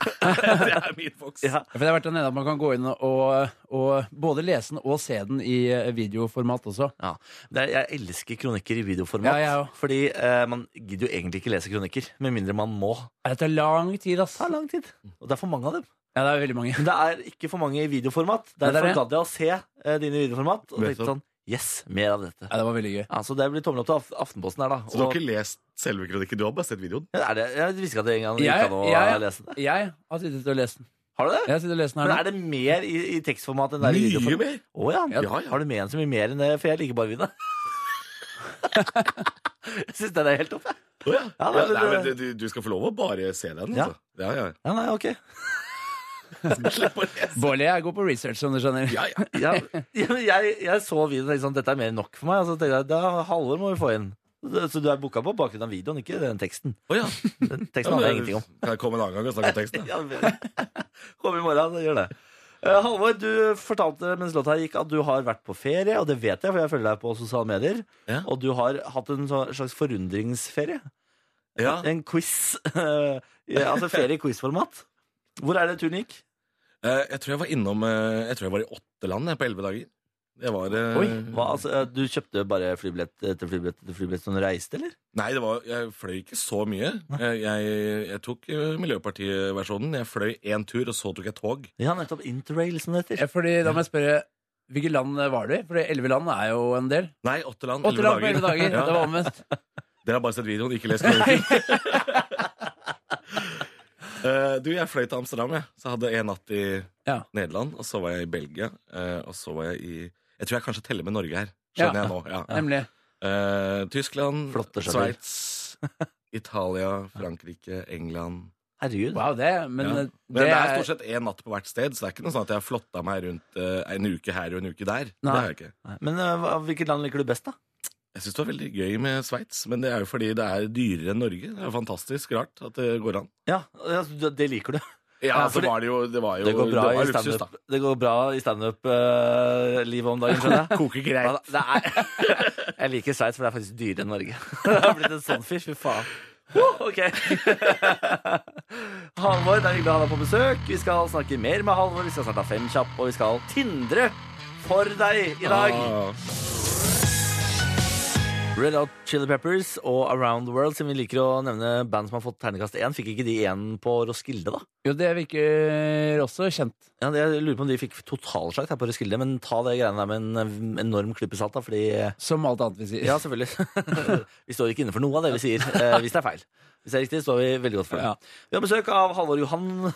D: Det er min Fox.
B: Ja.
C: Ja, For det har vært der nede at man kan gå inn og, og både lese den og se den i eh, videoformat også.
B: Ja. Det er, jeg elsker kronikker i videoformat.
C: Ja, jeg òg.
B: Fordi eh, man gidder jo egentlig ikke lese kronikker, med mindre man må.
C: Ja, Det tar lang tid, ass.
B: Det tar lang tid, og det er for mange av dem.
C: Ja, det er veldig mange.
B: Men det er ikke for mange i videoformat.
C: Nei, det er
B: Derfor
C: det.
B: gadd jeg å se eh, dine i videoformat og tenkte
D: Nettopp.
B: sånn Yes, mer av dette.
C: Ja, det var veldig gøy.
B: Ja, så det blir tommel opp til Af- Aftenposten her, da.
D: Så du har
B: Og-
D: ikke lest selve kronikken? Du har bare sett videoen?
B: Ja, er det, jeg visste ikke at det engang gikk an
C: Jeg-
B: å
C: jeg-
B: lese det.
C: Jeg har sittet og lest den.
B: Har du det?
C: Jeg har sittet og lest den
B: Men
C: her
B: er
C: nå.
B: det mer i, i tekstformat enn det er i
D: Mye
B: videoformat?
D: mer!
B: Å ja.
D: Ja, ja.
B: Har du med en så mye mer enn det? For jeg liker bare vin, da. jeg syns den er helt topp, jeg.
D: Å ja.
B: Ja,
D: Ja,
B: men
D: nei, men
B: det-
D: du, du skal få lov å bare se den,
B: Ja.
D: altså. Ja, ja.
B: Ja, nei, ok.
D: Slipp å lese.
C: Bårli, jeg går på research, som du skjønner.
D: Ja, ja.
B: Ja, ja, men jeg, jeg så videoen og tenkte sånn, dette er mer enn nok for meg. Og så tenkte jeg da Halvor må vi få inn. Så du er booka på bakgrunn av videoen, ikke den teksten.
D: Å ja.
B: Den
D: Ja,
B: teksten
D: men
B: handler
D: det-
B: ingenting om.
D: Kan jeg komme en annen gang og snakke om teksten?
B: Ja, men- Kom i morgen, så gjør det. Eh, Halvor, du fortalte mens låta gikk at du har vært på ferie, og det vet jeg, for jeg følger deg på sosiale medier.
D: Ja.
B: Og du har hatt en sånn slags forundringsferie.
D: Ja.
B: En quiz. eh, ja, altså ferie i quiz-format. Hvor er det turen gikk?
D: Eh, Jeg tror jeg var innom eh, Jeg tror jeg var i åtte land jeg, på elleve dager. Det var eh,
B: Oi, hva, altså, eh, Du kjøpte bare flybillett etter flybillett etter flybillett som du reiste, eller?
D: Nei, det var, jeg fløy ikke så mye. Eh, Jeg, jeg tok eh, Miljøpartiet-versjonen. Jeg fløy én tur, og så tok jeg tog.
B: Ja, nettopp. Interrail, som det heter.
C: Ja, Fordi Da må jeg spørre Hvilke land var du i? For elleve land er jo en del.
D: Nei, åtte land.
C: Åtte land på elleve dager!
D: Ja.
C: Det var omvendt.
D: Dere har bare sett videoen, ikke lest kronikken. Eh, du, jeg fløy til Amsterdam, jeg. Så hadde jeg en natt i
C: Ja.
D: Nederland, og så var jeg i Belgia, eh, og så var jeg i Jeg tror jeg kanskje teller med Norge her.
C: Ja.
D: Skjønner jeg nå. Ja.
C: Nemlig.
D: Eh, Tyskland,
B: Flotte skjønner.
D: Sveits, Italia, Frankrike, England.
B: Herregud.
C: Wow, det Men,
D: Ja.
C: eh,
D: Men det, er stort sett én natt på hvert sted, så det er ikke noe sånn at jeg har flotta meg rundt eh, en uke her og en uke der.
C: Nei.
D: Det har jeg ikke.
B: Nei, Men eh, hva- hvilket land liker du best, da?
D: Jeg syns det var veldig gøy med Sveits, men det er jo fordi det er dyrere enn Norge. Det er jo fantastisk rart at det går an.
B: Ja, altså, du- Det liker du.
D: Ja,
B: Ja,
D: så
B: fordi-
D: var det jo Det var jo
B: Det går bra
D: det var
B: i
D: luksus, da.
B: standup- det går bra i standup-livet om dagen, skjønner jeg.
D: Koker
B: Ja,
D: greit.
B: det er, jeg liker Sveits, for det er faktisk dyrere enn Norge. Det har blitt en sånn fyr. Fy faen. Oh, ok. Halvor, det er hyggelig å ha deg på besøk. Vi skal snakke mer med Halvor. Vi skal snart ha Fem kjapp, og vi skal tindre for deg i dag.
D: Ah,
B: Red Hot Chili Peppers og Around the World, som vi liker å nevne band som har fått terningkast én. Fikk ikke de én på Roskilde, da?
C: Jo, det virker også kjent.
B: Ja, det- jeg lurer på om de fikk totalslakt her på Roskilde, men ta det greiene der med en eh, enorm klype salt, da, fordi eh,
C: Som alt annet vi sier.
B: Ja, selvfølgelig. vi står ikke inne for noe av det vi sier, eh, hvis det er feil. Hvis det er riktig, står vi veldig godt for det.
C: Ja.
B: Vi har besøk av Halvor Johansson.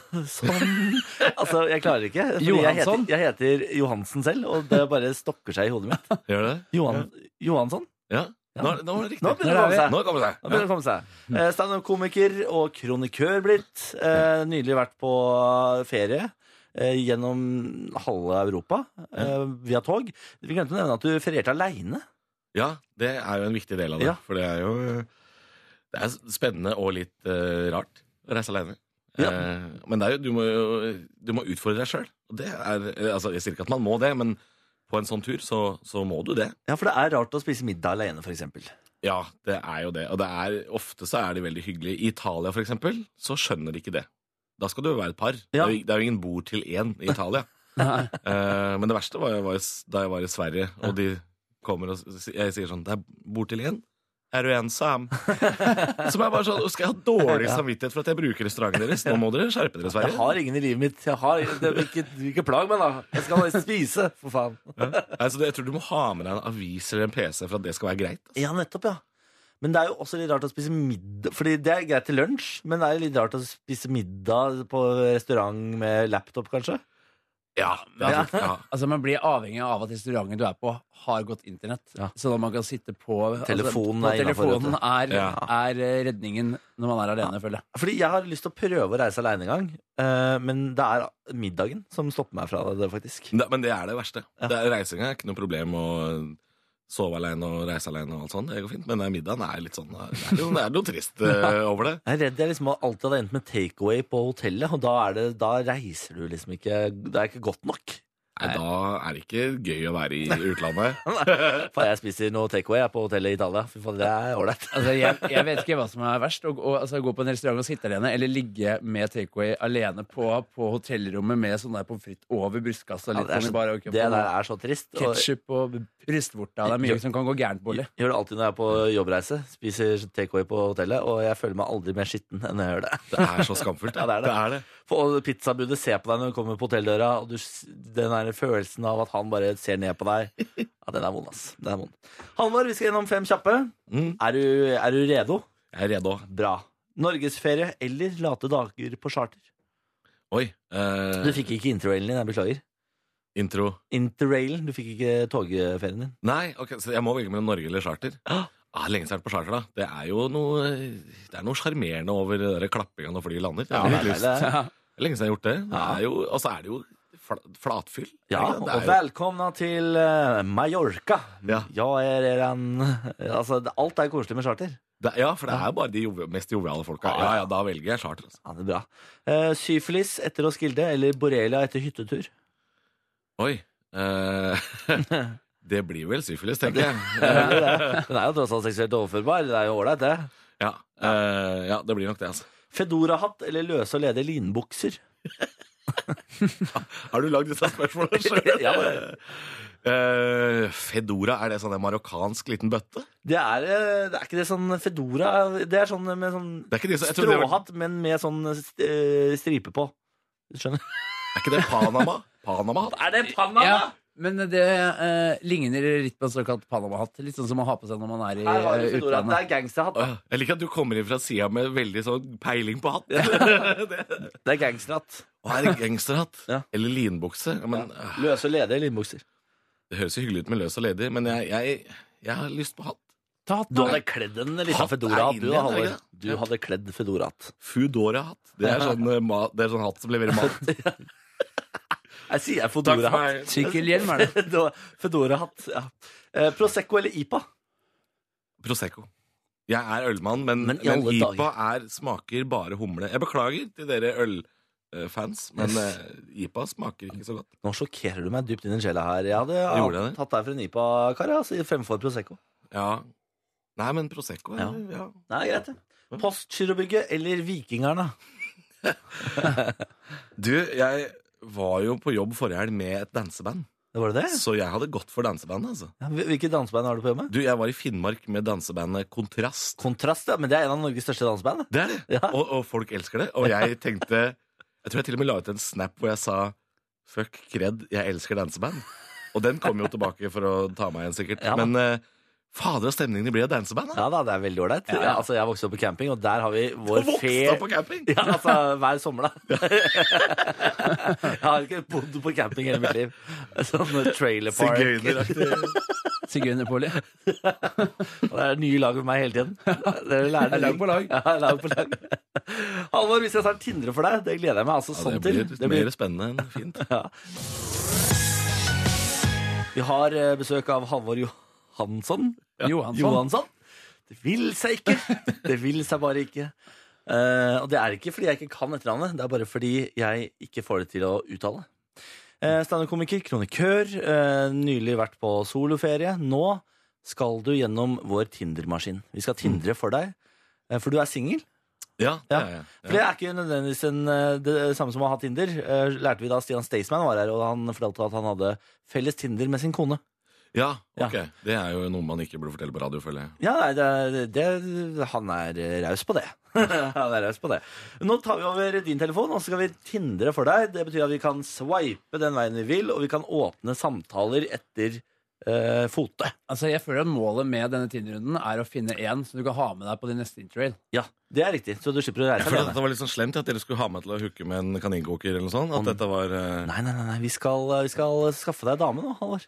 B: altså, jeg klarer ikke. fordi Jeg heter,
C: Johansson?
B: jeg heter Johansen selv, og det bare stokker seg i hodet mitt.
D: Gjør det?
B: Johan, Johansson?
D: Ja. Nå, nå, er det riktig.
B: Nå begynner det å
C: Der er
B: komme seg.
C: vi.
D: Nå kommer det
B: Nå
D: seg.
B: begynner det å komme seg. Eh, Standup-komiker og kronikør blitt. Eh, nylig vært på ferie. eh, Gjennom halve Europa eh, via tog. Vi glemte å nevne at du ferierte aleine.
D: Ja, det er jo en viktig del av det.
B: Ja.
D: For det er jo det er spennende og litt eh, rart å reise alene.
B: Ja.
D: Eh, men det er jo, du, må jo, du må utfordre deg sjøl. Altså, jeg sier ikke at man må det, men på en sånn tur så, så må du det.
B: Ja, for det er rart å spise middag aleine, f.eks.
D: Ja, det er jo det. Og det er, ofte så er de veldig hyggelige. I Italia, for eksempel, så skjønner de ikke det. Da skal du jo være et par. Det,
B: Ja.
D: er jo, det er jo ingen bord til én i Italia.
C: Nei.
D: Eh, men det verste var, jo- var jo s- da jeg var i Sverige, og de kommer og s- jeg sier sånn Det er bord til én. Er du ensam? Som er bare sånn Skal jeg ha dårlig samvittighet for at jeg bruker restauranten deres? Nå må dere skjerpe dere, Sverige.
B: Jeg har ingen i livet mitt. Jeg har, det, ikke, ikke plag meg, da. Jeg skal bare spise, for faen.
D: Nei, så det- jeg tror du må ha med deg en avis eller en PC for at det skal være greit.
B: Ja, nettopp, ja. Men det er jo også litt rart å spise middag Fordi det er greit til lunsj, men det er jo litt rart å spise middag på restaurant med laptop, kanskje.
D: Ja, det er, ja.
C: Altså, Man blir avhengig av at restauranten du er på, har godt internett.
B: Ja.
C: Sånn at man kan sitte på
B: Telefonen
C: altså,
B: er innenfor,
C: telefonen er,
D: Ja.
C: er eh, redningen når man er alene, føler jeg.
B: Fordi jeg har lyst til å prøve å reise aleine en gang, eh, men det er middagen som stopper meg fra det, faktisk.
D: Ne- Men det er det verste. Det er Reisinga er ikke noe problem å sove alene og reise alene og alt sånt. Det går fint. Men den middagen er litt sånn Det er noe, det er noe trist eh, over det.
B: Jeg er redd jeg liksom alltid hadde endt med takeaway på hotellet, og da, er det, da reiser du liksom ikke Det er ikke godt nok.
D: Nei, da er det ikke gøy å være i utlandet.
B: For jeg spiser noe takeaway jeg, på hotellet i Italia. Fy faen, det er ålreit.
C: Altså, jeg, jeg vet ikke hva som er verst. Å, gå- altså, gå på en restaurant og sitte alene, eller ligge med takeaway alene på, på hotellrommet med sånn der pommes frites over brystkassa.
B: Ja,
C: Litt
B: det, er
C: sånn i
B: så,
C: bare øyekroppen,
B: det der er så trist.
C: og Ketchup og brystvorta. Det er mye som kan gå gærent, Bolli.
B: Jeg gjør det alltid når jeg er på jobbreise. Spiser takeaway på hotellet, og jeg føler meg aldri mer skitten enn jeg gjør det.
D: Det er så skamfullt.
B: Ja, det er det.
D: det.
B: For og pizzabudet ser på deg når du kommer på hotelldøra, og du, s- den der følelsen av at han bare ser ned på deg. Ja, den er vond, ass. Den er vond. Halvor, vi skal gjennom fem kjappe.
D: Mm.
B: Er du, er du redo?
D: Jeg er redd òg.
B: Bra. Norgesferie eller late dager på charter?
D: Oi.
B: Du
D: eh,
B: fikk ikke interrailen din, jeg beklager.
D: intro.
B: Interrailen, du fikk ikke togferien din.
D: Nei, ok, så jeg må velge mellom Norge eller charter.
B: Ja.
D: Ah, lenge siden jeg har vært på charter, da. Det er jo noe Det er noe sjarmerende over det der klappinga når flyet lander.
B: Ja, det er
D: lyst.
B: deilig.
D: Lenge siden jeg har gjort det. det
B: Ja.
D: er jo, og så er det jo fla- flatfyll.
B: Ja,
D: Ikke sant? Det
B: og
D: er jo-
B: velkomna til eh, Mallorca.
D: Ja.
B: er, er en Altså, det- alt er koselig med charter.
D: Det, ja, for det er bare de jovi- mest joviale folka. Ja, ja, da velger jeg charter. Altså.
B: Ja, det er bra. Eh, syfilis etter Roskilde eller borrelia etter hyttetur?
D: Oi. eh, det blir vel syfilis, tenker jeg.
B: Ja, det er det. Den er jo tross alt seksuelt overførbar. Det er jo ålreit, det.
D: Ja, eh, ja, det blir nok det, altså.
B: Fedorahatt eller løse og ledige linbukser?
D: Har du lagd disse spørsmålene sjøl?
B: Ja, det
D: Fedora, er det sånn en marokkansk liten bøtte?
B: Det er, eh, det er ikke det sånn fedora Det er sånn med sånn
D: Det er ikke, de, som- jeg tror det var,
B: stråhatt, men med sånn st- eh, stripe på. Skjønner?
D: er ikke det Panama? Panama?
B: Er det Panama?
C: Ja, men det eh, ligner litt på en såkalt Panama-hatt. Litt sånn som man har på seg når man er i
B: Her har du fedora.
C: eh,
B: Det
C: utlandet.
B: er gangsterhatt.
D: Åh, Jeg liker at du kommer inn fra sida med veldig sånn peiling på hatt.
B: Det er gangsterhatt.
D: Og er det gangsterhatt?
B: Ja.
D: Eller linbukse? Ja, men, eh,
B: Løse og ledige linbukser.
D: Det høres jo hyggelig ut med løs og ledig, men jeg, jeg, jeg har lyst på hatt.
C: Ta hatten
B: Du
C: av.
B: hadde kledd en liten
D: Hatt er
B: fedorahatt,
D: inne
B: du da,
D: igjen, er det
B: Halvor.
D: ikke det?
B: Du hadde kledd fedorahatt.
D: Foodora-hatt. Det, er sånn, eh, ma- det er sånn hatt som leverer mat.
B: Jeg sier
D: Takk for
B: fedorahatt.
D: meg.
C: Sykkelhjelm er det.
B: Da- Fedorahatt, ja. Eh, Prosecco eller IPA?
D: Prosecco. Jeg er ølmann, men,
B: Men
D: men,
B: i alle
D: IPA
B: dager.
D: er, smaker bare humle. Jeg beklager til dere ølfans, men eh, IPA smaker ikke så godt.
B: Nå sjokkerer du meg dypt inn i sjela her. Jeg hadde
D: Gjorde jeg det?
B: tatt deg for en altså, IPA-kar ja, så fremfor Prosecco.
D: Ja. Nei, men Prosecco er, ja.
B: Nei, greit det. Postgirobygget eller Vikingerne?
D: Du, jeg var jo på jobb forrige helg med et danseband,
B: Det var det det?
D: så jeg hadde gått for dansebandet. Altså.
B: Ja, hvil- hvilket danseband har du på hjemme?
D: Du, jeg var i Finnmark med dansebandet Kontrast.
B: Kontrast, ja. Men det er en av Norges største danseband.
D: Det er det!
B: Ja.
D: Og, og folk elsker det. Og jeg tenkte Jeg tror jeg til og med la ut en snap hvor jeg sa Fuck kred, jeg elsker danseband. Og den kom jo tilbake for å ta meg igjen, sikkert.
B: Ja da.
D: Men eh, fader og stemningen det blir av danseband. da.
B: Ja da, det er veldig ålreit. Ja, altså, jeg vokste opp på camping, og der har vi vår
D: Og Vokste
B: fair
D: opp på camping!
B: Ja, altså hver sommer, da. jeg har ikke bodd på camping hele mitt liv. Sånn trailer park.
D: Sigøyneraktig.
C: Sigøynerpåli.
B: Og Det er nye lag med meg hele tiden. Dere lærer
C: Det er
B: det.
C: lag på lag.
B: Ja, lag på lag. Halvor, hvis jeg snart tindrer for deg, det gleder jeg meg altså
D: Ja,
B: sånn
D: det blir,
B: til.
D: litt mer spennende enn fint.
B: Vi har eh, besøk av Halvor Johansson.
C: Johansson.
B: Johansson. Det vil seg ikke. Det vil seg bare ikke. Eh, og det er ikke fordi jeg ikke kan etternavnet, det er bare fordi jeg ikke får det til å uttale. Uh, Standup-komiker, kronikør, eh, nylig vært på soloferie. Nå skal du gjennom vår Tinder-maskin. Vi skal
D: Mm.
B: tindre for deg, eh, for du er singel.
D: Ja,
B: Ja.
D: det er jeg.
B: For det er ikke nødvendigvis en, eh, det samme som å ha Tinder. Eh, Lærte vi da Stian Staysman var her, og han fortalte at han hadde felles Tinder med sin kone.
D: Ja,
B: Ja.
D: ok. Det er jo noe man ikke burde fortelle på radio, føler jeg.
B: Ja, nei, det, det, han er raus på det. han er raus på det. Nå tar vi over din telefon, og så skal vi tindre for deg. Det betyr at vi kan swipe den veien vi vil, og vi kan åpne samtaler etter eh, fote.
C: Altså, jeg føler at Målet med denne Tinder-runden er å finne én som du kan ha med deg på din neste interrail.
B: Ja, det er riktig, så du slipper å reise
D: Jeg føler at
B: alene.
D: det var litt sånn slemt at dere skulle ha meg til å hooke med en kaninkoker eller noe sånt. At dette var eh,
B: Nei, nei, nei, nei. Vi, skal, vi skal skaffe deg dame nå, Halvor.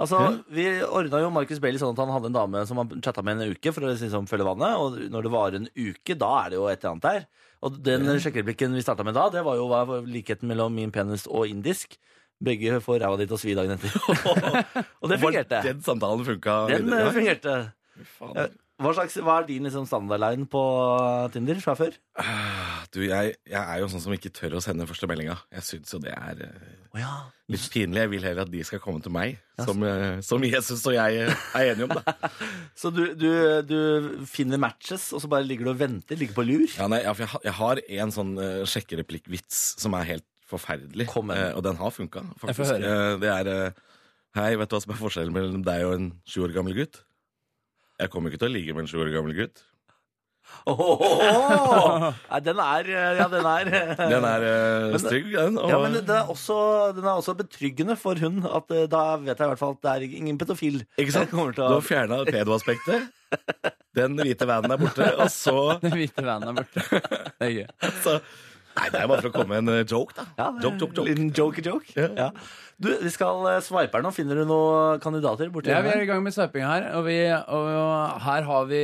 B: Altså, Vi ordna jo Marcus Bailey sånn at han hadde en dame som han chatta med en uke for å liksom følge vannet. Og når det varer en uke, da er det jo et eller annet der. Og den sjekkereplikken vi starta med da, det var jo hva var likheten mellom min penis og indisk. Begge får ræva ditt og svi dagen etter. og det fungerte.
D: Den samtalen funka.
B: Den eh,
D: videre.
B: fungerte.
D: Faen.
B: Eh, Hva, slags, hva er din liksom, standardline på Tinder fra før?
D: Du, jeg, jeg er jo sånn som ikke tør å sende første meldinga. Jeg syns jo det er eh,
B: Å ja.
D: litt pinlig. Jeg vil heller at de skal komme til meg, som, eh, som Jesus og jeg eh, er enige om. Da.
B: Så du, du, du finner matches, og så bare ligger du og venter? Ligger på lur?
D: Ja, nei, ja, for jeg, ha- jeg har en sånn eh, sjekkereplikkvits som er helt forferdelig,
B: Kom med
D: eh,
B: den.
D: og den har funka,
C: Jeg får
D: faktisk. Eh, det er eh, Hei, vet du hva som er forskjellen mellom deg og en sju år gammel gutt? Jeg kommer ikke til å ligge med en sju år gammel gutt.
B: Åhåhå! Nei, den er eh, Ja, den er
D: Den er eh,
B: Men-
D: stygg, den. Og,
B: ja, men den er, også, den er også betryggende for hun at eh, da vet jeg i hvert fall at det er ingen pedofil.
D: Ikke sant?
B: Jeg kommer
D: Du
B: til å-
D: har fjerna pedoaspektet. Den hvite vanen er borte, og så
C: Den hvite vanen er borte. Det er gøy.
D: Så, nei, det er bare for å komme med en eh, joke, da.
B: Ja, det er
D: joke, joke, joke.
B: Liten joke-joke.
D: Ja.
B: Ja. Du, vi skal eh, swipe her nå. Finner du noen kandidater borti
C: Ja, vi er
B: her?
C: i gang med sveippinga her, og, vi, og her har vi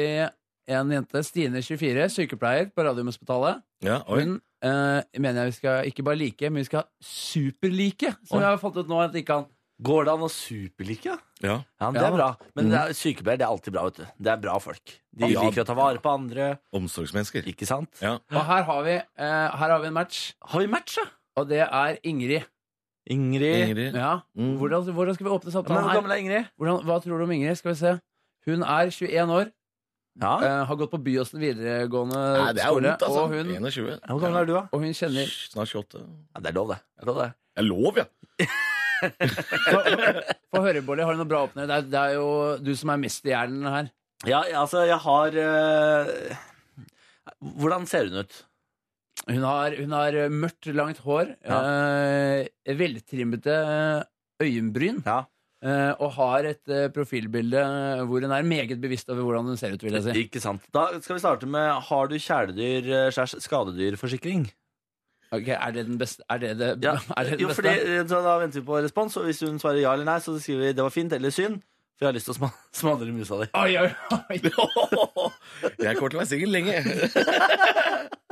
C: en jente, Stine 24, sykepleier på Radiumhospitalet.
D: Ja, oi.
C: Hun eh, mener jeg vi skal ikke bare like, men vi skal superlike, som
B: Oi.
C: jeg har fått ut nå at ikke kan.
B: Går det an å superlike?
D: Ja.
B: Ja, men det
C: Ja.
B: er bra. Men det er, sykepleier det er alltid bra, vet du. Det er bra folk. De
D: Ja.
B: liker å ta vare på andre.
D: Omsorgsmennesker.
B: Ikke sant?
D: Ja.
C: Og her har vi, eh, her har vi en match,
B: Har vi matcha?
C: og det er Ingrid.
B: Ingrid.
D: Ingrid.
C: Ja.
D: Mm.
C: Hvordan, hvordan skal vi åpne
B: Ja, Men
C: samtalen
B: Hvor
C: her?
B: gammel er Ingrid?
C: Hvordan, hva tror du om Ingrid? Skal vi se. Hun er 21 år,
B: Ja.
C: eh, har gått på Byåsen videregående
D: Nei, det er
C: skole,
D: vondt, altså.
C: og, hun,
D: 21.
B: Hvor gammel er du, da?
C: og hun kjenner
D: Snart 28.
B: Ja, det er lov, det. det, er lov, det.
D: Jeg lov, ja!
C: Få høre, Bolli, har du noe bra åpner? Det er, det er jo du som er mesterhjernen her.
B: Ja, altså, jeg har eh, Hvordan ser hun ut?
C: Hun har, hun har mørkt, langt hår,
B: Ja.
C: eh, veltrimmete øyenbryn,
B: Ja.
C: eh, og har et eh, profilbilde hvor hun er meget bevisst over hvordan hun ser ut, vil jeg si.
B: Ikke sant. Da skal vi starte med Har du kjæledyr eh, slash skadedyrforsikring?
C: Ok, Er det den beste? Er det det,
B: Ja.
C: er det den
B: Jo,
C: beste?
B: fordi, eh, så da venter vi på respons, og hvis hun svarer ja eller nei, så skriver vi 'det var fint' eller 'synd', for jeg har lyst til å sma- smadre musa di.
C: Oi, oi, oi.
D: Jeg kommer til å være singel lenge.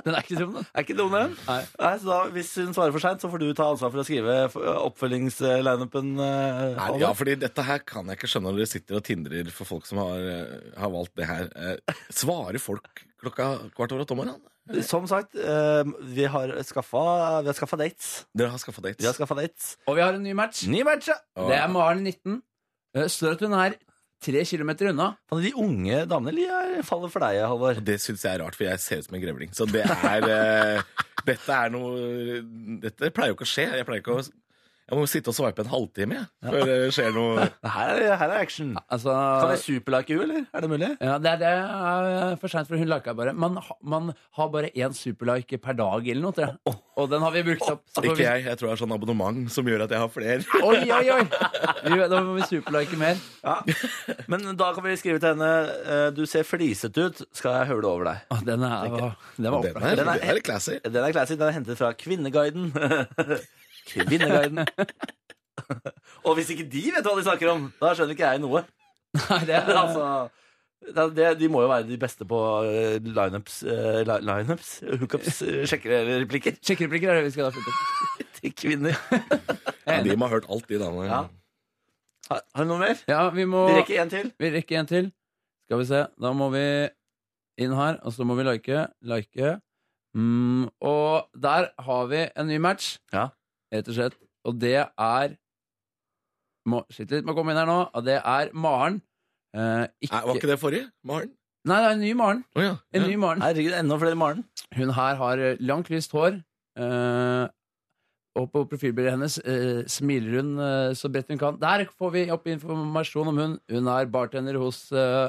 C: Den er ikke dum, den.
B: Er ikke dum, den?
C: Nei.
B: Nei, så da, hvis hun svarer for seint, så får du ta ansvar for å skrive f- oppfølgingslineupen. eh,
D: Nei,
B: Halvor.
D: ja, fordi dette her kan jeg ikke skjønne når dere sitter og tindrer for folk som har, eh, har valgt det her. Eh, Svarer folk klokka kvart over åtte om morgenen?
B: Som sagt, eh, vi har skaffa, vi har skaffa dates.
D: Dere har skaffa
B: Vi
D: dates?
B: har skaffa dates.
C: Og vi har en ny match.
B: Ny match, ja!
D: Og-
C: Det er Maren 19. Eh, Står at hun er tre kilometer unna.
B: Faen, De unge damene de er- faller for deg, Halvor.
D: Og Det syns jeg er rart, for jeg ser ut som en grevling. Så det er eh, Dette er noe Dette pleier jo ikke å skje. Jeg pleier ikke å Jeg må jo sitte og sveipe en halvtime jeg, før det skjer noe.
B: Her er, her er action.
C: Altså,
B: Kan jeg superlike henne, eller? Er det mulig?
C: ja, det, er, det er for seint, for hun liker bare man, ha- man har bare én superlike per dag eller noe, tror jeg. Og den har vi brukt opp.
B: Altså,
C: Så får
D: Ikke
C: vi,
D: jeg. Jeg tror jeg har sånn abonnement som gjør at jeg har flere.
C: oi, oi, oi! Vi, da må vi superlike mer.
B: Men da kan vi skrive til henne eh, Du ser fliset ut, skal jeg høvle over deg.
C: Å, den er, den var
D: Den
C: opplagt.
D: er,
B: Den er-
D: den er litt classy.
B: Den er classy. Den er hentet fra Kvinneguiden. Kvinneguiden. Og hvis ikke de vet hva de snakker om, da skjønner ikke jeg noe.
C: Nei, det er altså
B: altså, det, det, de må jo være de beste på eh, lineups eh, li- Lineups? Hookups? eh, Sjekker eller replikker?
C: Sjekkereplikker er det vi skal da flytte på.
B: Til kvinner.
D: Ja, de må ha hørt alt, de damene.
B: Ja. Har, har du noe mer?
C: Ja, vi må
B: Vi rekker en til.
C: Vi rekker en til. Skal vi se. Da må vi inn her, og så må vi like. Like. Mm, og der har vi en ny match,
B: Ja.
C: rett og slett. Og det er må, Sitt litt med å komme inn her nå. Og det er Maren. Eh, ikke,
D: Nei, var ikke det forrige? Maren?
C: Nei, det er en ny Maren.
D: Å ja.
C: En ny Maren.
B: Herregud, enda flere Maren.
C: Hun her har eh, langt, lyst hår. eh, og på profilbildet hennes eh, smiler hun eh, så bredt hun kan. Der får vi opp informasjon om hun. Hun er bartender hos eh,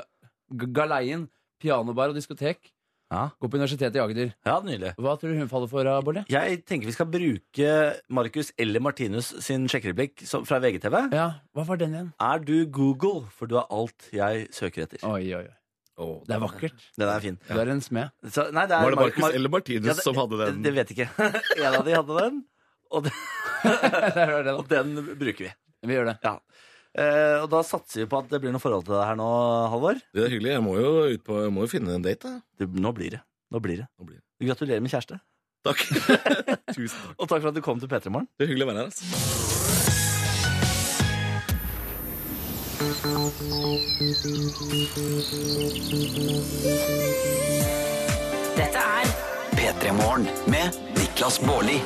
C: G- Galeien pianobar og diskotek.
B: Ja.
C: Går på Universitetet i Agder.
B: Ja, nydelig.
C: Hva tror du hun faller for, eh, Bolle?
B: Jeg tenker vi skal bruke Markus eller Martinus sin sjekkereplikk som- fra VGTV.
C: Ja, Hva var den igjen?
B: Er du Google, for du er alt jeg søker etter.
C: Oi, oi, oi.
D: Å,
C: Det er vakkert.
B: Den er fin.
C: Du er en smed.
B: Så, nei, det er
D: Var det
B: Mar-
D: Marcus
B: Mar-
D: eller Martinus
B: Ja, det-
D: som hadde den?
B: Det vet jeg ikke. en av de hadde den, og, den-
C: Der var det,
B: og
C: da.
B: den bruker vi.
C: Vi gjør det.
B: Ja. Eh, og da satser vi på at det blir noe forhold til det her nå, Halvor.
D: Det er hyggelig. Jeg må jo, ut på, jeg må jo finne en date, da.
B: Det, nå blir det. Nå blir det.
D: Nå blir det.
B: Gratulerer med kjæreste.
D: Takk. Tusen takk.
B: Og takk for at du kom til P3 Morgen.
D: Det er hyggelig å være her. Altså.
E: Dette er
A: P3 Morgen med Niklas Baarli.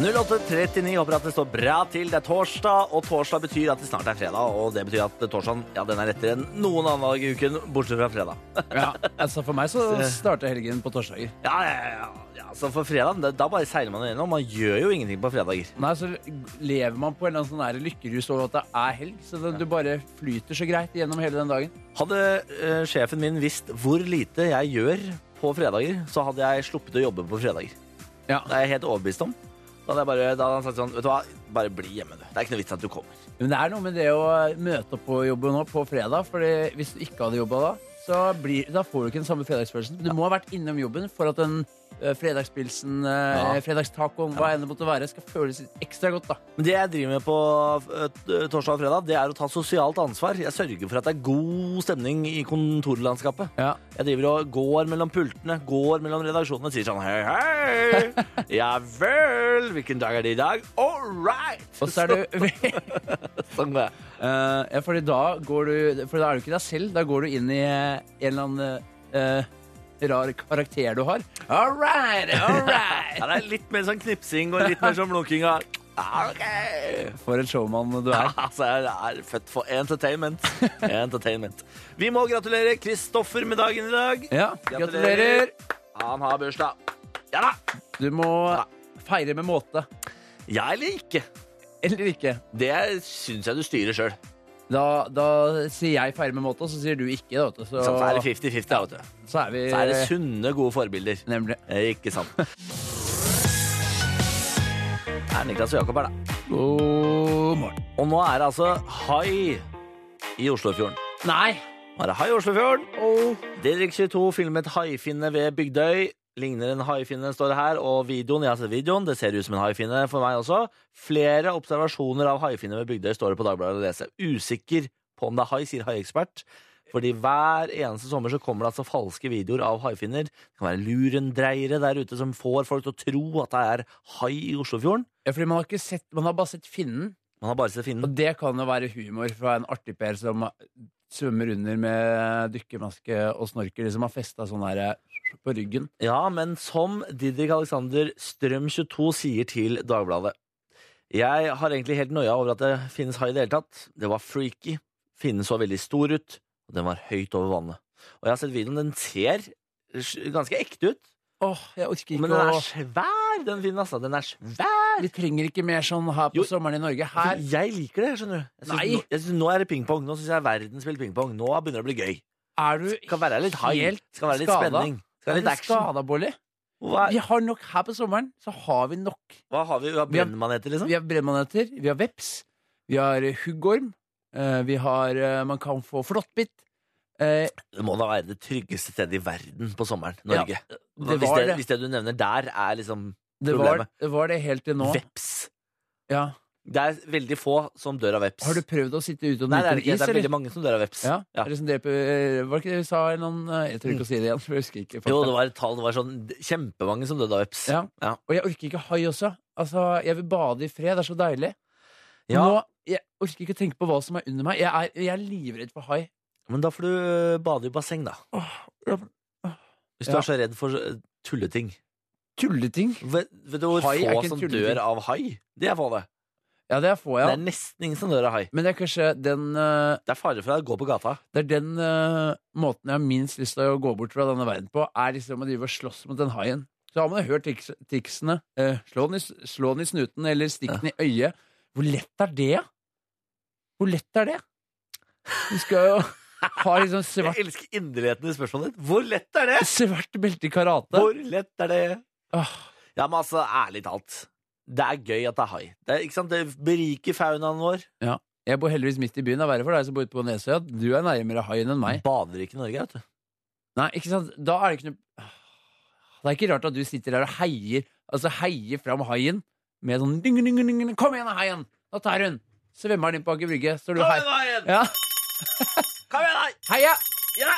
B: 08.39 håper at det står bra til. Det er torsdag, og torsdag betyr at det snart er fredag. Og det betyr at torsdagen ja, den er lettere enn noen annen dag i uken, bortsett fra fredag.
C: Ja, altså For meg så starter helgen på torsdager.
B: Ja, ja, ja, ja. Så for fredagen, da- da bare seiler man gjennom. Man gjør jo ingenting på fredager.
C: Nei, så lever man på en eller annen sånn der lykkerus over at det er helg. Så det, du bare flyter så greit gjennom hele den dagen.
B: Hadde eh, sjefen min visst hvor lite jeg gjør på fredager, så hadde jeg sluppet å jobbe på fredager.
C: Ja.
B: Det er jeg helt overbevist om. Da hadde, jeg bare, da hadde han sagt sånn, vet du hva, bare bli hjemme du. Det er ikke noe vits at du kommer.
C: Men det er noe med det å møte opp på jobben nå på fredag, Fordi hvis du ikke hadde jobba da, så blir, da får du ikke den samme fredagsfølelsen. Du må ha vært innom jobben for at den eh, fredagspilsen, eh,
B: Ja.
C: fredagstacoen, hva enn det måtte være, skal føles ekstra godt, da.
B: Men det jeg driver med på eh, t- torsdag og fredag, det er å ta sosialt ansvar. Jeg sørger for at det er god stemning i kontorlandskapet.
C: Ja.
B: Jeg driver og går mellom pultene, går mellom redaksjonene, sier sånn, hei, hei, ja vel, hvilken dag er det i dag? All right!
C: Og så er du
B: Sånn det.
C: Eh, ja, fordi da går du For da er du ikke deg selv. Da går du inn i eh, en eller annen eh, rar karakter du har. All right, all right.
B: Ja, det er litt mer sånn knipsing og litt mer sånn blunking av, «Ah, ok.
C: For en showman du er.
B: Altså, jeg er født for entertainment. entertainment. Vi må gratulere Kristoffer med dagen i dag.
C: Ja, gratulerer.
B: Han har bursdag. Ja da!
C: Du må feire med måte.
B: Ja eller ikke?
C: Eller ikke.
B: Det syns jeg du styrer sjøl.
C: Da, da sier jeg feire med måte, og så sier du ikke. Da, vet du. så,
B: Så er det 50-50. da, vet du.
C: så er vi
B: Så er det sunne, gode forbilder.
C: Nemlig.
B: Eh, Ikke sant? Det er Niklas og Jakob her, da.
C: God morgen.
B: Og nå er det altså hai i Oslofjorden.
C: Nei!
B: Nå er det hai i Oslofjorden. Didrik 22 filmet haifinne ved Bygdøy. Ligner en haifinne, står det her. Og videoen, jeg har sett videoen, det ser ut som en haifinne for meg også. Flere observasjoner av haifinne ved Bygdøy står det på Dagbladet å lese. Usikker på om det er hai, sier haiekspert. Fordi hver eneste sommer så kommer det altså falske videoer av haifinner. Det kan være lurendreiere der ute som får folk til å tro at det er hai i Oslofjorden.
C: Ja, fordi man har, ikke sett, man har bare sett finnen.
B: Man har bare sett finnen.
C: Og det kan jo være humor fra en artig per som svømmer under med dykkermaske og snorker, som har festa sånn her på ryggen.
B: Ja, men som Didrik Alexander Strøm22 sier til Dagbladet. Jeg har egentlig helt nøya over at det finnes hai i det hele tatt. Det var freaky. Finnen så veldig stor ut, og den var høyt over vannet. Og jeg har sett videoen. Den ser sj- ganske ekte ut,
C: Åh, jeg orker
B: men
C: ikke
B: den
C: å
B: er svær, den finnen, altså. Den er svær!
C: Vi trenger ikke mer sånn her på
B: Jo.
C: sommeren i Norge. Her
B: For Jeg liker det, skjønner du. Jeg synes,
C: Nei.
B: Nå, jeg synes, nå er det pingpong. Nå syns jeg verden spiller pingpong. Nå begynner det å bli gøy.
C: er du
B: Skal være litt hai.
C: Helt
B: Skal være litt
C: skada.
B: spenning. Skal være litt action.
C: skada, Bolli.
B: Hva,
C: Vi har nok her på sommeren. Så har vi nok.
B: hva har vi? Hva
C: Vi har-
B: brenner man etter, liksom?
C: Vi har brennmaneter, vi har veps, vi har huggorm, eh, vi har eh, Man kan få flåttbitt. Eh,
B: Det må da være det tryggeste stedet i verden på sommeren. Norge.
C: det
B: hvis,
C: var
B: det,
C: det.
B: hvis det du nevner der, er liksom
C: Det var,
B: Problemet.
C: det var det helt til nå.
B: veps.
C: Ja.
B: Det er veldig få som dør av veps.
C: Har du prøvd å sitte ute og
B: Nei, det
C: nyte
B: er det
C: en
B: ikke.
C: is,
B: Det er
C: eller?
B: veldig mange som dør av veps.
C: Ja,
B: Ja.
C: Eller som dreper eh, Var det ikke det du sa? en eller annen- Jeg tør ikke å si det igjen. for Jeg husker ikke fakta.
B: Jo, det var et tall. Det var sånn kjempemange som døde av veps.
C: Ja.
B: Ja.
C: Og jeg orker ikke hai også. Altså, Jeg vil bade i fred. Det er så deilig.
B: Ja,
C: Nå, Jeg orker ikke tenke på hva som er under meg. Jeg er, jeg er livredd for hai.
B: Men da får du eh, bade i basseng, da.
C: ja.
B: Hvis du
C: Ja.
B: er så redd for eh, tulleting.
C: Tulleting.
B: Vet, vet du hvor
C: Hai er ikke
B: få
C: en
B: som
C: tulleting.
B: dør av hai? Det er få, det.
C: Ja, det får
B: Det
C: jeg.
B: er nesten ingen som dør av hai.
C: Men det er kanskje den eh,
B: Det er fare for å gå på gata.
C: Det er den eh, måten jeg har minst lyst til å gå bort fra denne verden på, er liksom å drive og slåss mot den haien. Så har man jo hørt triks, triksene. eh, slå, den i, s- slå den i snuten, eller stikk den i øyet. Hvor lett er det, da? Hvor lett er det? Du skal jo ha liksom svart,
B: Jeg elsker inderligheten i spørsmålet ditt. Hvor lett er det?
C: svart belte i karate.
B: Hvor lett er det?
C: Åh,
B: Ja, men altså, ærlig talt. Det er gøy at det er hai. Det, er- ikke sant? det beriker faunaen vår.
C: jeg bor heldigvis midt i byen. Det er verre for deg som bor ute på Nesøya. Du er nærmere haien enn meg.
B: Bader ikke i Norge, vet du.
C: Nei, ikke sant? Da er det ikke noe Det er ikke rart at du sitter der og heier Altså heier fram haien med sånn ding, ding, ding, ding. Kom igjen, da, haien! Nå tar hun! Svømmer den inn på Aker Brygge. Så du
B: Kom
C: hei.
B: igjen, haien!
C: Ja,
B: Kom igjen, hai!
C: heia!
B: Ja!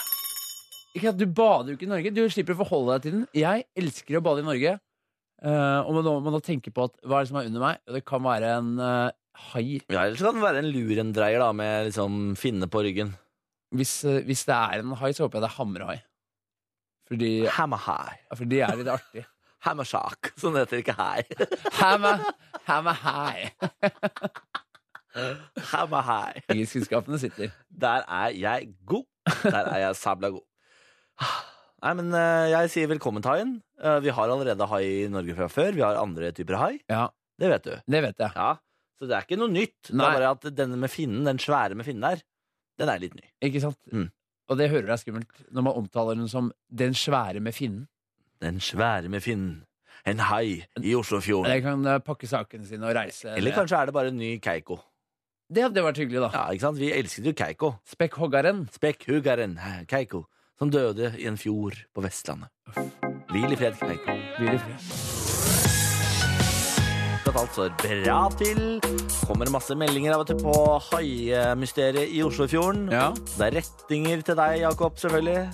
C: Ikke sant? Du bader jo ikke i Norge. Du slipper å forholde deg til den. Jeg elsker å bade i Norge. Eh, og man må, man må tenke på at hva er det som er under meg? Det kan være en eh, hai.
B: Ja, Eller så kan det være en lurendreier da, med liksom finne på ryggen.
C: Hvis, eh, hvis det er en hai, så håper jeg det er hammerhai. Fordi,
B: Hammer hai.
C: for de er litt artig.
B: Hammer shark, som det heter ikke hai.
C: Hammer, hammerhai.
B: Hammer hai.
C: Engelskkunnskapene sitter.
B: Der er jeg god. Der er jeg sabla god. Nei, men eh, jeg sier velkommen til haien. Eh, vi har allerede hai i Norge fra før. Vi har andre typer hai.
C: Ja,
B: Det vet du.
C: det vet jeg.
B: Ja, Så det er ikke noe nytt. Det
C: Nei.
B: er bare at denne med finnen, den svære med finnen der, den er litt ny.
C: Ikke sant?
B: Mm.
C: Og det hører jeg er skummelt når man omtaler den som 'den svære med finnen'.
B: Den svære med finnen. En hai i
C: Det
B: Oslofjorden.
C: kan eh, pakke sakene sine og reise.
B: Eller kanskje er det bare en ny Keiko.
C: Det hadde vært hyggelig, da.
B: Ja, ikke sant? Vi elsket jo Keiko.
C: Spekkhoggeren.
B: Spekkhuggeren eh, Keiko, som døde i en fjord på Vestlandet. Hvil i fred, Keiko.
C: Hvil i fred.
B: at alt står bra til. Kommer masse meldinger av og til på haimysteriet i Oslofjorden.
C: Ja.
B: Det er rettinger til deg, Jakob, selvfølgelig.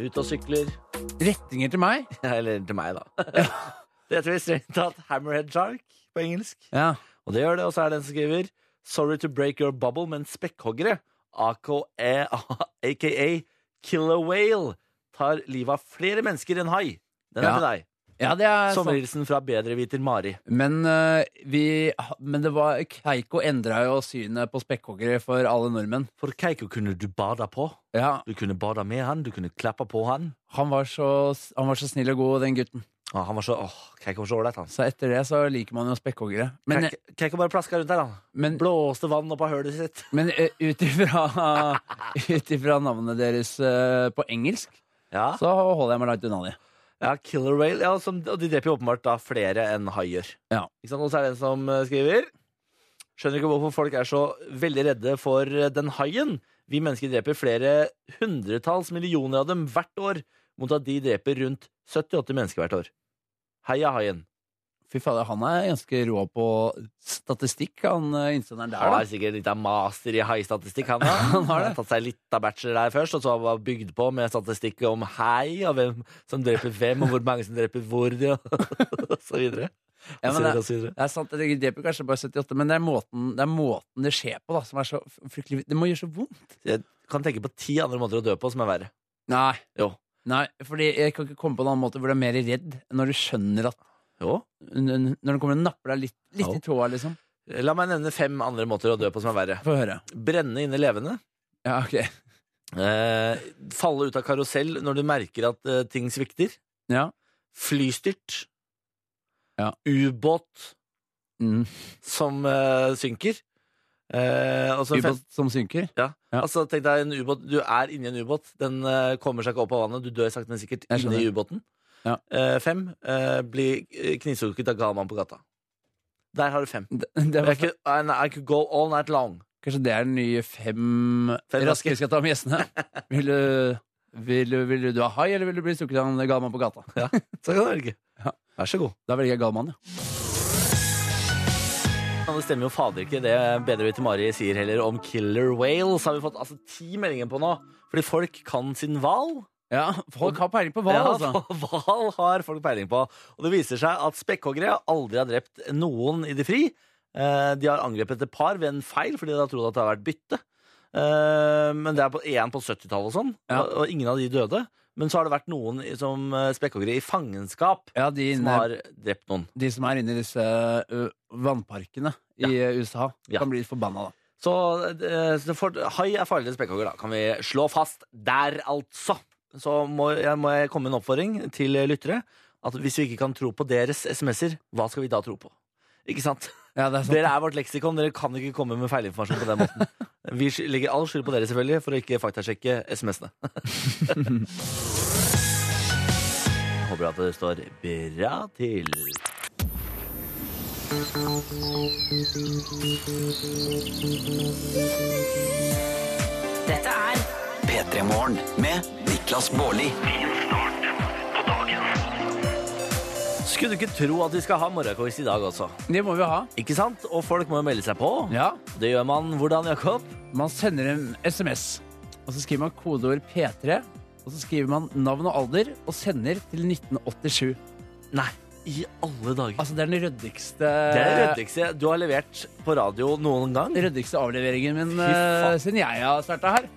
B: Ut og sykler.
C: Rettinger til meg.
B: Eller til meg, da. det heter visst rett tatt Hammerhead Shark på engelsk.
C: Ja.
B: Og det gjør det, og så er det en som skriver Sorry to break your bubble, men spekkhoggere, E, aka Killer Whale, tar livet av flere mennesker enn hai. Den er
C: Ja.
B: til deg.
C: ja, det er sant.
B: Sommerhilsen fra bedreviter Mari.
C: Men, eh, vi, ha- men det var Keiko endra jo synet på spekkhoggere for alle nordmenn.
B: For Keiko kunne du bada på.
C: Ja,
B: Du kunne bada med han, du kunne klappe på han.
C: han var, så, han var så snill og god, den gutten.
B: Å, han var så, åh, Keiko var så ålreit, han.
C: Så etter det så liker man jo spekkhoggere. Men,
B: Keiko- Keiko bare plaska rundt der, han.
C: men
B: Blåste vann opp av hølet sitt.
C: Men eh, ut ifra, ut ifra navnet deres eh, på engelsk,
B: Ja,
C: så holder jeg meg langt unna de.
B: ja Killer Whale. Ja, som, og de dreper jo åpenbart da flere enn haier.
C: Ja.
B: Ikke sant? Og så er det en som eh, skriver Skjønner ikke hvorfor folk er så veldig redde for eh, den haien. Vi mennesker dreper flere hundretalls millioner av dem hvert år, mot at de dreper rundt 70-80 mennesker hvert år. Heia haien.
C: Fy fader, han er ganske rå på statistikk, han eh,
B: Han
C: innsenderen der,
B: har sikkert litt av master i haistatistikk. Han, da.
C: Han har det.
B: har tatt seg litt av bachelor der først, og så har han bygd på med statistikk om hai, og hvem som dreper hvem, og hvor mange som dreper hvor, de, og så videre.
C: da. Ja,
B: Og så
C: men
B: videre,
C: det,
B: og så videre.
C: det er sant, det dreper kanskje bare 78, men det er måten det, er måten det skjer på, da, som er så f- fryktelig Det må gjøre så vondt.
B: Jeg kan tenke på ti andre måter å dø på som er verre.
C: Nei.
B: Jo.
C: Nei, fordi jeg kan ikke komme på en annen måte hvor du er mer redd når du skjønner at
B: Jo.
C: Når den kommer og napper deg litt, litt
B: Jo.
C: i tåa, liksom.
B: La meg nevne fem andre måter å dø på som er verre.
C: Få høre.
B: Brenne inne levende.
C: Ja, ok.
B: Eh, falle ut av karusell når du merker at eh, ting svikter.
C: Ja.
B: Flystyrt.
C: Ja.
B: Ubåt
C: Mm.
B: som eh, synker. Eh, og så en
C: Ubåt som synker. Ja.
B: Altså, tenk deg en ubåt. Du er inni en ubåt. Den eh, kommer seg ikke opp av vannet. Du dør sakte, men sikkert
C: Jeg skjønner.
B: inni ubåten.
C: Ja.
B: Eh, fem. Uh, bli eh, knivstukket av gal mann på gata. Der har du fem.
C: Det, det var
B: I could, and I could go all night long.
C: Kanskje det er den nye fem
B: Fem raske.
C: raske jeg skal ta med gjestene. Vil du, vil, du, vil du ha hai, eller vil du bli stukket av en gal mann på gata?
B: Så kan du velge.
C: Ja.
B: Vær så god.
C: Da velger jeg gal mann, ja.
B: Han og det stemmer jo fader ikke det Bedrevite-Mari sier heller om killer whales. Har vi fått altså, ti meldinger på nå? Fordi folk kan sin hval.
C: Ja, folk har peiling på hva, altså.
B: Ja, på hval har folk peiling på. Og det viser seg at spekkhoggere aldri har drept noen i det fri. Eh, De har angrepet et par ved en feil fordi de har trodd at det har vært bytte. Eh, Men det er på- én på 70-tallet og sånn,
C: Ja.
B: og- og ingen av de døde. Men så har det vært noen i- som eh, spekkhoggere i fangenskap
C: Ja, de,
B: som
C: inne,
B: har drept noen.
C: de som er inne i disse ø, vannparkene i ø, USA,
B: Ja.
C: kan bli litt forbanna, da.
B: Så, eh, så for, hai er farligere enn spekkhogger, da. Kan vi slå fast der, altså? Så må jeg, må jeg komme med en oppfordring til lyttere. At hvis vi ikke kan tro på deres SMS-er, hva skal vi da tro på? Ikke sant?
C: Ja, det er sant.
B: Dere er vårt leksikon. Dere kan ikke komme med feilinformasjon på den måten. Vi sky- legger all skyld på dere, selvfølgelig, for å ikke faktasjekke SMS-ene. Håper at det står bra til.
E: Dette er
A: P3 Morgen med Niklas Baarli.
B: Skulle du ikke tro at vi skal ha morgenquiz i dag også?
C: Det må vi ha.
B: Ikke sant? Og folk må jo melde seg på.
C: Ja.
B: Det gjør man hvordan, Jakob?
C: Man sender en SMS, og så skriver man kodeord P3. Og så skriver man navn og alder og sender til 1987.
B: Nei, i alle dager.
C: Altså, det er den røddigste
B: det er det
C: Eh,
B: ryddigste du har levert på radio noen gang.
C: røddigste avleveringen min
B: Fy faen.
C: eh, siden jeg har starta her.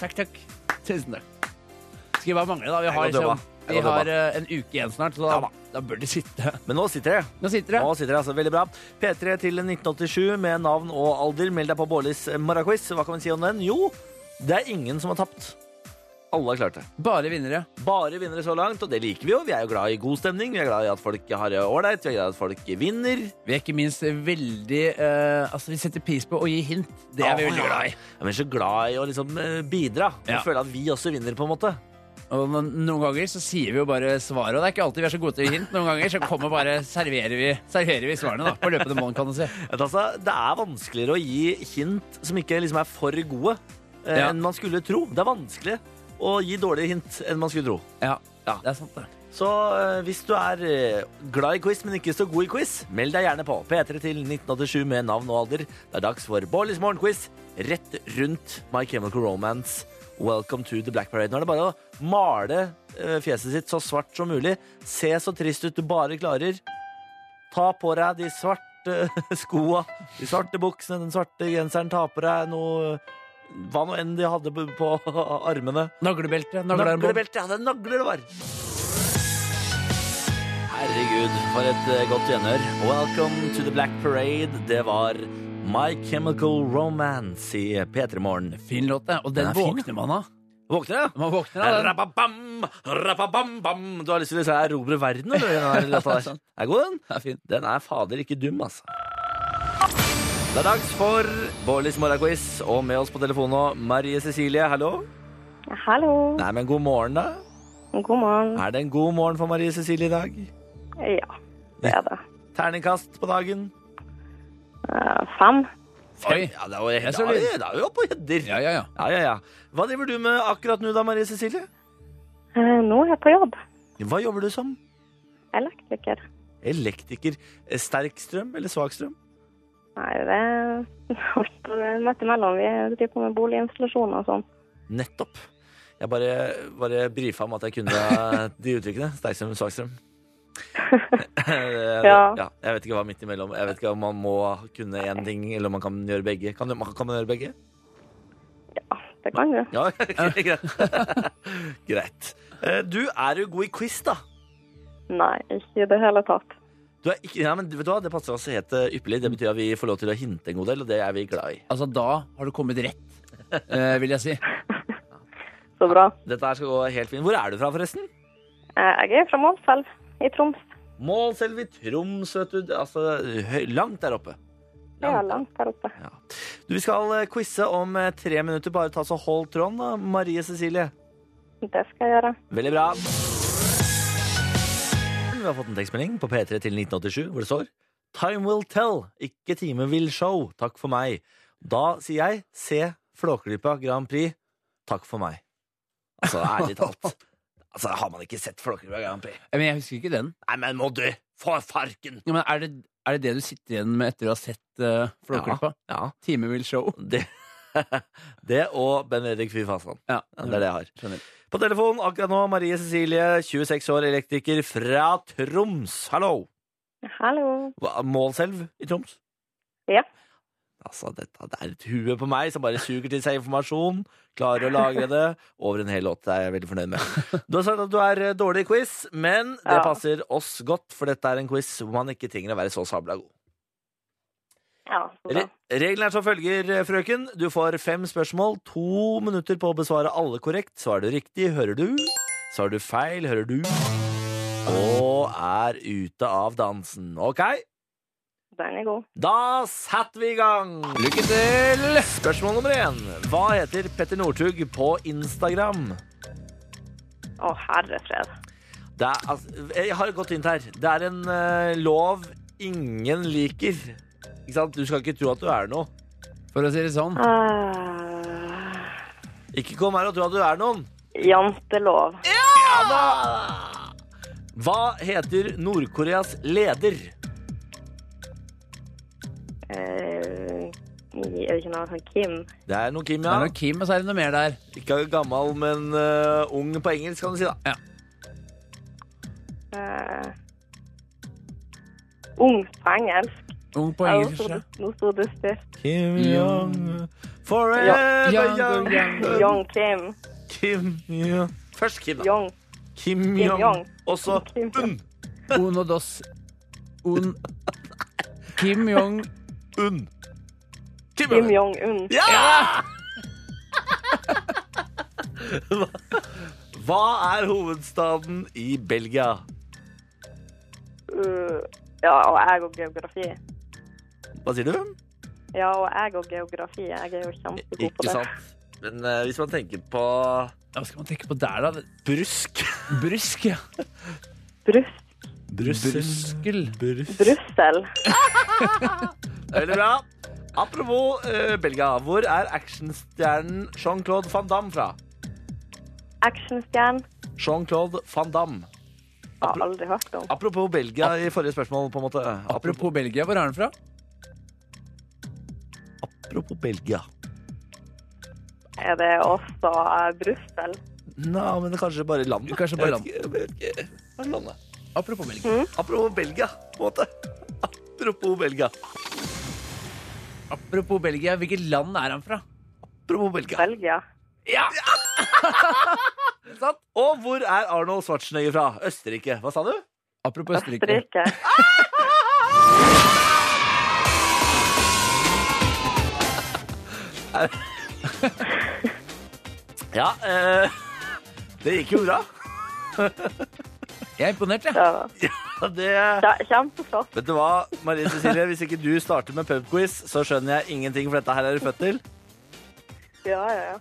C: Takk, takk. Tusen takk. Skal bare mangle, da. Vi har,
B: går døva.
C: liksom,
B: Jeg
C: vi
B: går
C: har eh, en uke igjen snart, så da,
B: Ja da.
C: da bør de sitte.
B: Men nå sitter jeg.
C: Nå sitter det.
B: Nå sitter jeg altså veldig bra. P3 til 1987 med navn og alder. Meld deg på Bårlis morgenquiz. Hva kan vi si om den? Jo, det er ingen som har tapt. Alle har klart det.
C: Bare vinnere.
B: Bare vinnere så langt, og det liker vi jo. Vi er jo glad i god stemning. Vi er glad i at folk har det ålreit. Vi er glad i at folk vinner.
C: Vi er ikke minst veldig eh, Altså, vi setter pris på å gi hint. Det er vi
B: Åh,
C: veldig
B: ja.
C: glad i.
B: Ja, Vi er så glad i å liksom eh, bidra og
C: Ja.
B: føle at vi også vinner, på en måte.
C: Og no- noen ganger så sier vi jo bare svaret, og det er ikke alltid vi er så gode til å gi hint. Noen ganger så kommer bare serverer vi, serverer vi svarene da, på løpende mål, kan du si.
B: Vet du, Altså, det er vanskeligere å gi hint som ikke liksom er for gode, eh,
C: Ja.
B: enn man skulle tro. Det er vanskelig å gi dårlige hint enn man skulle tro.
C: Ja,
B: Ja.
C: det er sant, det.
B: Så eh, hvis du er eh, glad i quiz, men ikke så god i quiz, meld deg gjerne på. P3 til 1987 med navn og alder. Det er dags for Bårlis morgenquiz rett rundt My Chemical Romance. Welcome to the Black Parade. Nå er det bare å male eh, fjeset sitt så svart som mulig. Se så trist ut du bare klarer. Ta på deg de svarte eh, skoa, de svarte buksene, den svarte genseren. Ta på deg noe Hva nå enn de hadde på- på armene.
C: Naglebelte. Naglearmbånd.
B: Naglebelte, ja, det er nagler det var. Herregud, for et eh, godt gjenhør. Welcome to the Black Parade. Det var My Chemical Romance i P3 Morgen.
C: Fin låt, det. Og den
B: Den er fin,
C: våkner man av.
B: Våkner du?
C: Man våkner av den.
B: Rapabam, rapabam-bam. Du har lyst til å liksom erobre verden, eller? Den der låta der. Er god, den?
C: Det er fin.
B: Den er fader ikke dum, altså. Det er dags for Bårlis morgenquiz, og med oss på telefonen nå, Marie Cecilie. Hallo.
F: Hallo.
B: Nei, men god morgen, da.
F: God morgen.
B: Er det en god morgen for Marie Cecilie i dag?
F: Ja, det er det.
B: Terningkast på dagen.
F: Eh, Fem.
C: Oi.
B: Ja, det er jo,
C: er så
B: da er vi- da er vi oppe og gjedder.
C: Ja, ja, ja.
B: Ja, ja, ja. Hva driver du med akkurat nå da, Marie Cecilie?
F: Eh, Nå er jeg på jobb.
B: Hva jobber du som?
F: Elektriker.
B: Elektriker. Eh, Sterk strøm eller svak strøm?
F: Nei, det er midt imellom. Vi driver på med boliginstallasjoner og sånn.
B: Nettopp. Jeg bare, bare brifa om at jeg kunne de uttrykkene. Sterk strøm, svak strøm. Eh,
F: Ja.
B: ja. Jeg vet ikke hva midt imellom. Jeg vet ikke om man må kunne én ting, eller om man kan gjøre begge. Kan, man- kan man gjøre begge?
F: Det kan du.
B: Ja, ok, greit. greit. Eh, Du er jo god i quiz, da.
F: Nei, ikke i det hele tatt.
B: Du er ikke, ja, men vet du hva, Det passer oss helt eh, ypperlig. Det betyr at vi får lov til å hinte en god del, og det er vi glad i.
C: Altså, da har du kommet rett, eh, vil jeg si.
F: Så bra.
B: Dette her skal gå helt fint. Hvor er du fra, forresten?
F: Eh, Jeg er fra Målselv i Troms.
B: Målselv i Troms, vet du. Altså, høy, langt der oppe.
F: Det er langt her oppe.
B: Du, vi skal eh, quize om eh, tre minutter. Bare ta så hold tråden, da, Marie Cecilie.
F: Det skal jeg gjøre.
B: Veldig bra. Vi har fått en tekstmelding på P3 til 1987 hvor det står Time will tell, ikke time will show. Takk for meg. Da sier jeg se Flåklypa Grand Prix. Takk for meg. Altså, ærlig talt. Altså, Har man ikke sett Flåkerberg Grand Prix?
C: Men jeg husker ikke den.
B: Nei, men må du! Få farken!
C: Ja, men er, det, er det det du sitter igjen med etter å ha sett uh, Flåklypa?
B: Ja,
C: Timevill show.
B: det, det og Ben-Erik Fy Fasland.
C: Ja,
B: Ja, det er det jeg har.
C: Skjønner.
B: På telefon akkurat nå, Marie Cecilie, 26 år, elektriker fra Troms. Hallo!
F: Hallo.
B: Hva- Målselv i Troms?
F: Ja.
B: Altså, dette det er et hue på meg som bare suger til seg informasjon, klarer å lagre det. Over en hel låt er jeg veldig fornøyd med. Du har sagt at du er eh, dårlig i quiz, men det
F: Ja.
B: passer oss godt, for dette er en quiz hvor man ikke trenger å være så sabla god.
F: Ja, så bra.
B: Re reglene er som følger, eh, frøken. Du får fem spørsmål, to minutter på å besvare alle korrekt. Svarer du riktig, hører du. Svarer du feil, hører du. Og er ute av dansen. Ok,
F: Den er god.
B: da setter vi i gang.
C: Lykke til!
B: Spørsmål nummer én. Hva heter Petter Northug på Instagram?
F: Å, herre fred.
B: Det er, altså, jeg har et godt hint her. Det er en eh, lov ingen liker. Ikke sant? Du skal ikke tro at du er noe.
C: For å si det sånn.
F: Ah,
B: Ikke kom her og tro at du er noen.
F: jantelov.
B: Ja da! Hva heter Nord-Koreas leder?
F: Eh, jeg vet ikke noe sånn Kim.
B: Det er noe Kim,
C: Det er
B: ja.
C: noe Kim, og så er det noe mer der.
B: Ikke gammel, men eh, ung på engelsk, kan du si. da.
F: Eh, ung på engelsk.
C: Ung på
F: Ja, nå
C: engelsk.
F: sto
C: kanskje.
F: det- Nå sto det stilt.
B: Kim
C: Jong.
B: Forever
C: Ja.
B: young.
F: Young Kim.
B: Kim Jong. Først Kim, da.
F: Young
B: Kim,
F: Jong.
B: Jong. Og så
F: Kim Jong.
B: Un.
C: Uno dos Un Kim Jong
B: Un. Kim
F: Kim
B: Jong.
F: Jong-un.
B: Ja! Hva er hovedstaden i Belgia?
F: Uh, ja, og jeg og geografi.
B: Hva sier du?
F: Ja, og jeg og geografi. Jeg er jo kjempegod på
B: Ikke
F: det.
B: sant. Men eh, hvis man tenker på
C: Hva skal man tenke på der, da?
B: brusk
C: Brusk, ja.
F: Brus
B: Brussel.
C: Bruskel.
F: Brussel.
B: Veldig bra. Apropos eh, Belgia. Hvor er actionstjernen Jean-Claude Van Damme fra?
F: Actionstjerne.
B: Jean-Claude Van Damme.
F: Har aldri hørt om.
B: Apropos Belgia i forrige spørsmål, på en måte.
C: Apropos Belgia, hvor er han fra?
B: apropos Belgia.
F: Er det også eh, Brussel?
B: Nei, men kanskje bare landet.
C: Kanskje bare
B: Jeg vet ikke- jeg vet ikke. Kanskje landet.
C: Apropos Belgia.
B: Apropos Belgia, på en måte. Apropos Belgia.
C: Apropos Belgia, hvilket land er han fra?
B: Apropos Belgia.
F: Belgia?
B: Ja! Sant? Og hvor er Arnold Schwarzenegger fra? Østerrike. Hva sa du?
C: Apropos Østerrike.
F: Østerrike?
B: Ja, eh, det gikk jo bra.
C: Jeg er imponert, jeg.
F: Ja.
B: Det,
F: Kje- Kjempeflott.
B: vet du hva, Marie Cecilie, hvis ikke du starter med pubquiz, så skjønner jeg ingenting, for dette her er du født til.
F: Ja, ja, ja.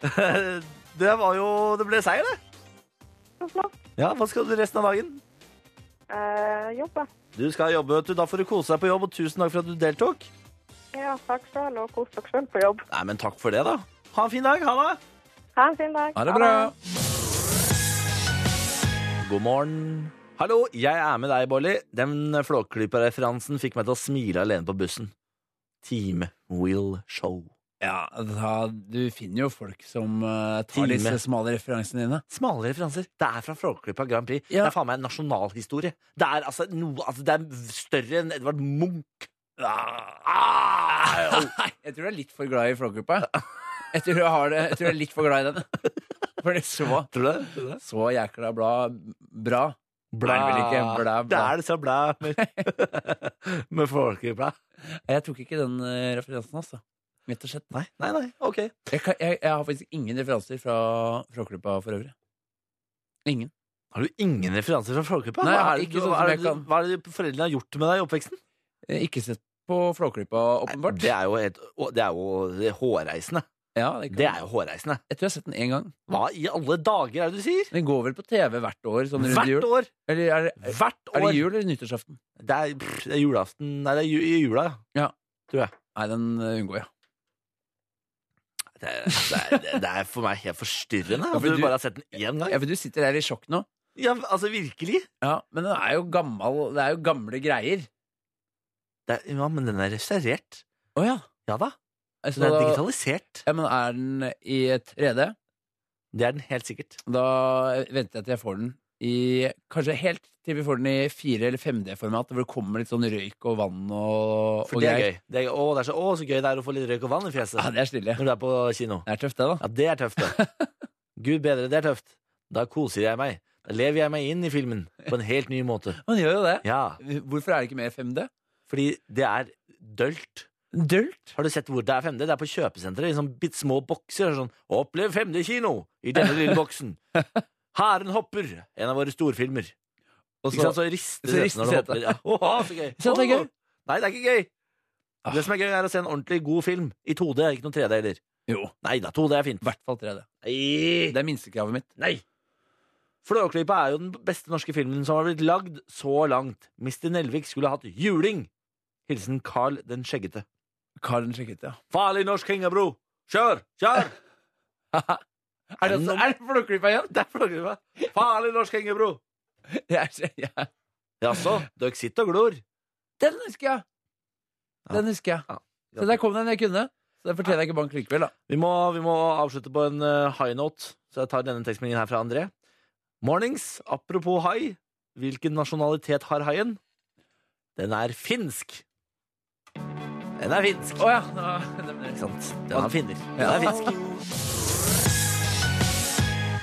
B: Det var jo Det ble seier, det.
F: Så flott.
B: Ja, Hva skal du resten av dagen?
F: Eh, jobbe.
B: Du skal jobbe, vet du. Da får du kose deg på jobb, og tusen takk for at du deltok.
F: Ja, takk sjøl, og kos dere sjøl på jobb.
B: Nei, men takk for det, da. Ha en fin dag. Ha det.
F: Ha en fin dag.
C: Ha det bra.
B: God morgen. Hallo, jeg er med deg, Bolly. Den flåklypa-referansen fikk meg til å smile alene på bussen. Team Will Show.
C: Ja, da, du finner jo folk som eh, tar
B: Time.
C: disse smale referansene dine.
B: Smale referanser. Det er fra Flåklypa Grand Prix.
C: Ja.
B: Det er faen meg en nasjonalhistorie. Det er altså noe altså, Det er større enn Edvard Munch. Ah, jo.
C: Jeg tror du er litt for glad i flåklypa. Jeg tror du har det- jeg tror du er litt for glad i den. For det er så,
B: Tror du det? Tror du det?
C: så jækla bla, bra.
B: Blæ.
C: Er det vel ikke? Blæ, blæ.
B: Det er det så blæ med, med Flåklypa.
C: Jeg tok ikke den eh, referansen, altså. Rett og slett.
B: Nei, nei, nei. OK.
C: Jeg, kan, jeg, jeg har faktisk ingen referanser fra Flåklypa for øvrig. Ingen.
B: Har du ingen referanser fra Flåklypa?
C: Nei, jeg
B: Hva
C: har
B: er det
C: ikke
B: du-
C: sånn som
B: hva er
C: jeg
B: det du-
C: kan.
B: Hva er det foreldrene har gjort med deg i oppveksten?
C: Eh, Ikke sett på Flåklypa, åpenbart.
B: Det er jo, et, å, det er jo det er hårreisende.
C: ja, det kan-
B: Det er jo hårreisende.
C: Jeg tror jeg har sett den én gang.
B: Hva i alle dager er det du sier?
C: Den går vel på TV hvert år. Sånn rundt
B: Hvert
C: jul.
B: år!
C: Eller er det,
B: Hvert
C: er
B: år!
C: det jul eller nyttårsaften?
B: Det er, pff, det er julaften Nei, det er ju, i jula, ja.
C: Nei, den eh, unngår jeg.
B: Det er, altså, det, er, det er for meg helt forstyrrende at
C: for
B: du
C: du-
B: bare har sett den én gang.
C: Ja, for du sitter her i sjokk nå.
B: Ja, altså virkelig.
C: Ja, Men den er jo gammel, det er jo gamle greier.
B: Det er, ja, men den er restaurert.
C: Å ja.
B: Ja da.
C: Altså,
B: Den er
C: da-
B: digitalisert.
C: Ja, men er den i 3D?
B: Det er den helt sikkert.
C: Da venter jeg til jeg får den i Kanskje helt til vi får den i 4- eller 5D-format, hvor det kommer litt sånn røyk og vann og,
B: For
C: og
B: det er
C: greier.
B: gøy. Det er, gøy. å, det er så, å, så gøy det er å få litt røyk og vann i fjeset
C: Ja, det er stilig.
B: når du er på kino.
C: Det er tøft, det, da.
B: Ja, det er tøft, det. Gud bedre, det er tøft. Da koser jeg meg. Da lever jeg meg inn i filmen på en helt ny måte.
C: Man gjør jo det.
B: Ja,
C: Hvorfor er det ikke mer 5D?
B: fordi det er dølt.
C: Dølt.
B: Har du sett hvor det er 5D? Det er på kjøpesenteret i sånn bitt små bokser. Sånn, Opplev 5D-kino i denne lille boksen. Hæren hopper, en av våre storfilmer.
C: Og
B: ikke sant, så
C: så,
B: rister
C: så
B: det
C: rister
B: når du
C: setet.
B: hopper. Ja. Åha, så gøy.
C: Ikke sant, det er
B: Åh.
C: gøy?
B: Nei, det er ikke gøy.
C: Ah.
B: Det som er gøy, er å se en ordentlig god film i 2D, ikke noe 3D heller.
C: jo, i
B: Nei da, 2D er fint.
C: hvert fall 3D.
B: Nei.
C: Det er minstekravet mitt.
B: Nei. Flåklypa er jo den beste norske filmen som har blitt lagd så langt. Mr. Nelvik skulle hatt juling! Hilsen Carl den skjeggete.
C: Karen sjekket, ja.
B: Farlig norsk hengebro! Kjør! Kjør!
C: Er det,
B: det
C: også,
B: noe-
C: er det flåklypa igjen?
B: Det er Flåklypa. Farlig norsk hengebro!
C: Det er så- ja.
B: Jaså, dere sitter og glor?
C: Den husker jeg! Den husker jeg.
B: Ja.
C: Så der kom den jeg kunne. Så det fortjener jeg ikke bank likevel, da.
B: Vi må, vi må avslutte på en eh, high note, så jeg tar denne tekstmeldingen her fra André. Mornings, apropos hai. Hvilken nasjonalitet har haien? Den er finsk. Den er finsk.
C: Å ja. da- det ble-
B: Ikke sant? Den er finner. Den
C: Ja.
B: er finsk.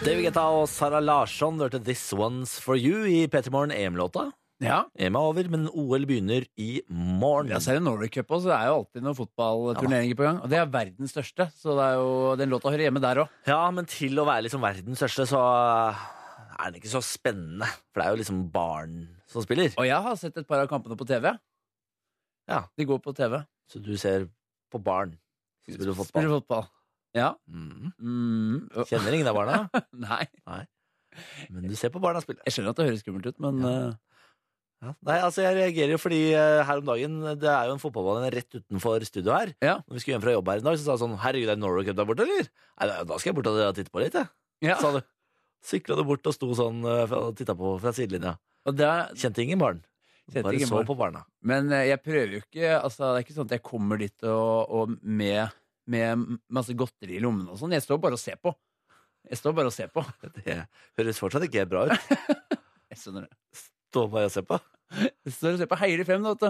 B: David Guetta og Sara Larsson hørte This One's For You i P3 Morgen EM-låta.
C: ja.
B: EM er over, men OL begynner i morgen.
C: Ja, så er det Norway Cup også, så det er jo alltid noen fotballturneringer på gang. Og det er verdens største, så det er jo, den låta hører hjemme der òg.
B: Ja, men til å være liksom verdens største, så er den ikke så spennende. For det er jo liksom barn som spiller.
C: Og jeg har sett et par av kampene på TV.
B: Ja.
C: De går på TV.
B: Så du ser på barn som spiller fotball.
C: Spiller fotball. Ja.
B: Mhm.
C: Mm. øh,
B: Kjenner ingen av barna,
C: Nei.
B: men du ser på barna spille.
C: Jeg skjønner at det høres skummelt ut, men
B: Ja.
C: øh,
B: Ja. Nei, altså Jeg reagerer jo fordi eh, her om dagen Det er jo en fotballbane rett utenfor studio her.
C: Ja.
B: Når vi skulle hjem fra jobb her en dag, så sa jeg sånn Herregud, er det Norway Cup der borte, eller? Nei, da- da skal jeg bort og titte på litt, jeg.
C: ja.
B: Sa du. Sykla du bort og sto sånn eh, og titta på fra sidelinja.
C: Og det er,
B: Kjente ingen barn.
C: Kjente
B: Bare
C: ingen
B: så
C: barn.
B: på barna.
C: men øh, jeg prøver jo ikke altså, Det er ikke sånn at jeg kommer dit og, og med, med masse godteri i lommene og sånn. Jeg står bare og ser på. Jeg står bare og ser på.
B: Det høres fortsatt ikke bra ut.
C: Jeg skjønner det.
B: Stå bare og se på. Mm.
C: Jeg står og ser på. Heier de frem, da, vet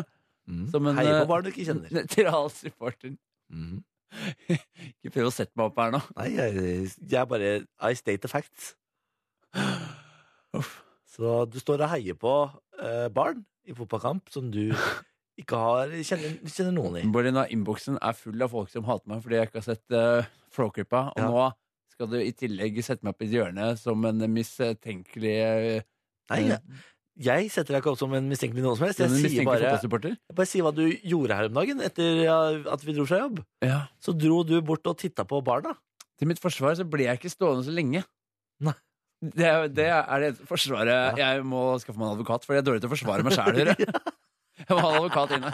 C: du. Som en,
B: Heier
C: eh,
B: på barn du ikke kjenner.
C: Nøytral supporter.
B: Mhm.
C: Ikke prøv å sette meg opp her nå.
B: Nei, jeg, jeg er bare I state the facts. Så du står og heier på eh, barn i fotballkamp som du ikke har kjenner, kjenner noen i.
C: Bård, nå er innboksen er full av folk som hater meg fordi jeg ikke har sett uh, Flåklypa. Og
B: Ja.
C: nå skal du i tillegg sette meg opp i et hjørne som en mistenkelig eh,
B: Nei, jeg, jeg setter deg ikke opp som en mistenkelig noen som helst. Jeg
C: en
B: sier
C: mistenkelig
B: bare,
C: fotballsupporter.
B: jeg bare sier hva du gjorde her om dagen etter ja, at vi dro fra jobb.
C: Ja.
B: Så dro du bort og titta på barna.
C: Til mitt forsvar så ble jeg ikke stående så lenge.
B: Nei.
C: Det, er- det er det eneste forsvaret Jeg må skaffe meg en advokat, for jeg er dårlig til å forsvare meg sjæl. Jeg må ha en advokat inne.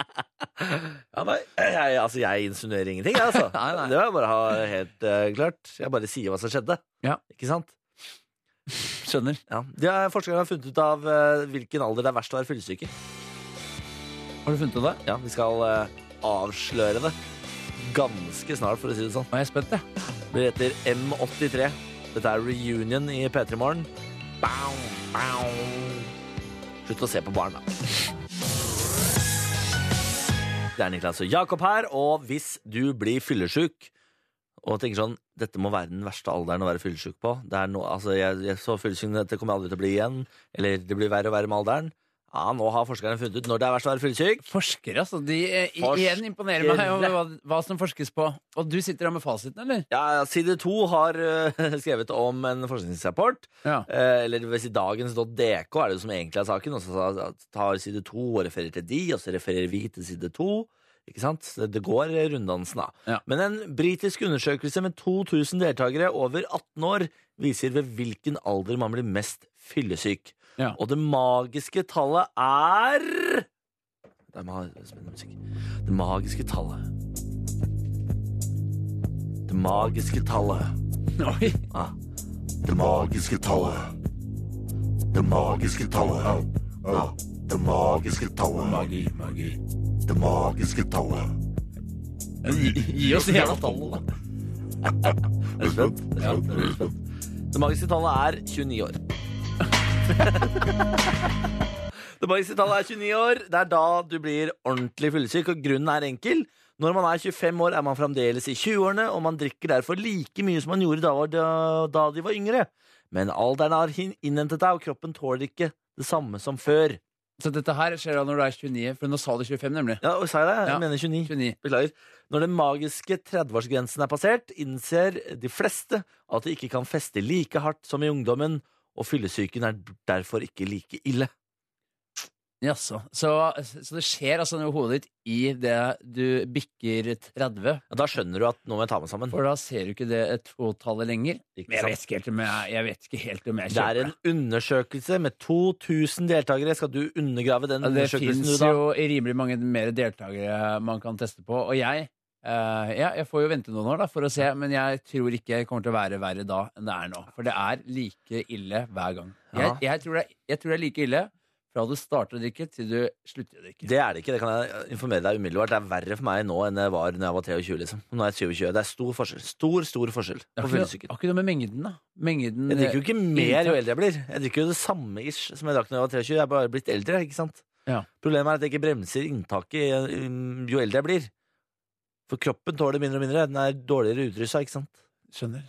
B: Ja, nei, jeg, altså, jeg insinuerer ingenting, jeg, altså.
C: Nei, nei.
B: Det må jeg bare ha helt eh, klart. Jeg bare sier hva som skjedde.
C: Ja.
B: Ikke sant?
C: Skjønner.
B: Ja. De har, forskerne har funnet ut av eh, hvilken alder det er verst å være fyllesyke.
C: Har du funnet ut det?
B: Ja, vi skal eh, avsløre det ganske snart, for å si det sånn.
C: Nå er jeg spent, jeg.
B: Vi heter M83. Dette er Reunion i P3 Morgen. Bow, bow. Slutt å se på barn, da. Det er Niklas og Jakob her, og hvis du blir fyllesyk og tenker sånn, dette må være den verste alderen å være fyllesyk på. Det er noe, altså, jeg, jeg så fyllesyk, dette kommer jeg aldri til å bli igjen. Eller det blir verre og verre med alderen. Ja, nå har forskerne funnet ut når det er verst å være fyllesyk.
C: Forskere, altså. De eh, i-
B: Forskere.
C: igjen imponerer meg over hva, hva som forskes på. Og du sitter der med fasiten, eller?
B: Ja, Side 2 har eh, skrevet om en forskningsrapport.
C: Ja.
B: Eh, eller hvis i dagens.dk er det som egentlig er saken. Og så sa- tar side 2 og refererer til de, og så refererer vi til side 2. Ikke sant? Så Det går runddansen, da.
C: Ja.
B: Men en britisk undersøkelse med 2000 deltakere over 18 år viser ved hvilken alder man blir mest fyllesyk.
C: Ja.
B: Og det magiske tallet er Det er ma- spennende musikk. Det magiske tallet Det Det magiske tallet.
C: Oi.
B: Ja. Det magiske tallet. Det magiske tallet. Ja. Det magiske tallet. Magi, magi. Det magiske tallet.
D: Gi oss det jævla tallet, da.
B: Er du spent? Ja. Det magiske tallet er 29 år. det magiske tallet er 29 år. Det er da du blir ordentlig fyllesyk, og grunnen er enkel. Når man er 25 år, er man fremdeles i 20-årene, og man drikker derfor like mye som man gjorde da, var- da- da de var yngre. Men alderen har hin- innhentet deg, og kroppen tåler ikke det samme som før.
C: Så dette her skjer da når du er 29, for nå sa du 25, nemlig.
B: Ja, og sa jeg det? Jeg
C: Ja.
B: mener 29.
C: 29.
B: Beklager. Når den magiske 30-årsgrensen er passert, innser de fleste at de ikke kan feste like hardt som i ungdommen, og fyllesyken er derfor ikke like ille.
C: Jaså. Så, så det skjer altså noe i hodet ditt i det du bikker 30,
B: Ja, da skjønner du at nå må jeg ta meg sammen.
C: for da ser du ikke det totallet lenger.
B: Ikke
C: Men jeg
B: sant?
C: vet ikke helt om jeg, jeg, vet ikke helt om jeg
B: Det er
C: kjøper det.
B: en undersøkelse med 2000 deltakere. Skal du undergrave den
C: Ja, det
B: undersøkelsen, du,
C: fins
B: da?
C: jo rimelig mange mer deltakere man kan teste på. Og jeg eh, ja, jeg får jo vente noen år da, for å se, men jeg tror ikke det kommer til å være verre da enn det er nå. For det er like ille hver gang. Jeg, jeg, tror, det, er- jeg tror det er like ille fra du starter å drikke til du slutter å drikke.
B: Det er det ikke. Det kan jeg informere deg umiddelbart. Det er verre for meg nå enn det var når jeg var 23. liksom. Nå er jeg 27. Det er stor forskjell. Stor, stor forskjell
C: Det
B: på
C: har ikke, noe-
B: fyllesyken.
C: har ikke noe med mengden, da. Mengden
B: Jeg drikker jo ikke mer jo
C: inntak.
B: eldre jeg blir. Jeg drikker jo det samme ish som jeg drakk når jeg var 23. Jeg er bare blitt eldre, ikke sant?
C: Ja.
B: Problemet er at jeg ikke bremser inntaket um, jo eldre jeg blir. For kroppen tåler mindre og mindre. Den er dårligere utrusta, ikke sant?
C: Skjønner.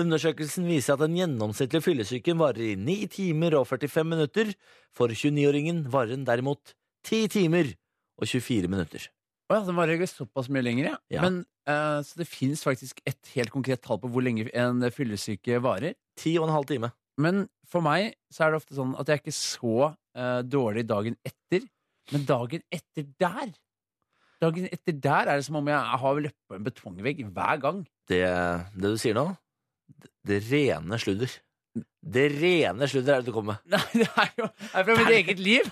B: Undersøkelsen viser at den gjennomsnittlige fyllesyken varer i 9 timer og 45 minutter. For 29-åringen varer den derimot 10 timer og 24 minutter.
C: Å ja, den varer jo såpass mye lenger, ja.
B: Ja.
C: Men, eh, så det fins faktisk et helt konkret tall på hvor lenge en fyllesyke varer.
B: 10 og en halv time.
C: Men for meg så er det ofte sånn at jeg er ikke så eh, dårlig dagen etter. Men dagen etter der Dagen etter der er det som om jeg har løpt på en betongvegg hver gang.
B: Det, det du sier nå, det, det rene sludder. Det rene sludder er det du kommer med.
C: Nei, det er jo det er fra mitt eget liv!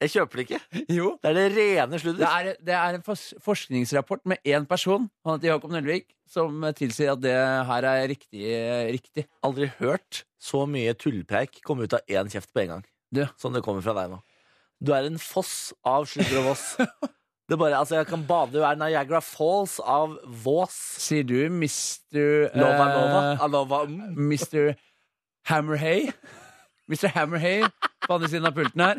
B: Jeg kjøper det ikke.
C: Jo.
B: Det er det rene sludder.
C: Det er, det er en fors forskningsrapport med én person, han heter Jakob Nelvik, som tilsier at det her er riktig. riktig.
B: aldri hørt så mye tullpreik komme ut av én kjeft på en gang.
C: Du.
B: Som det kommer fra deg nå. Du er en foss av sludder og voss. Det er bare, altså Jeg kan bade i hver Niagara Falls av vås.
C: Sier du Mr.
B: Lova,
C: eh,
B: lova. Alova. mm.
C: Mr. Hammerhay Mr. Hammerhay på andre siden av pulten her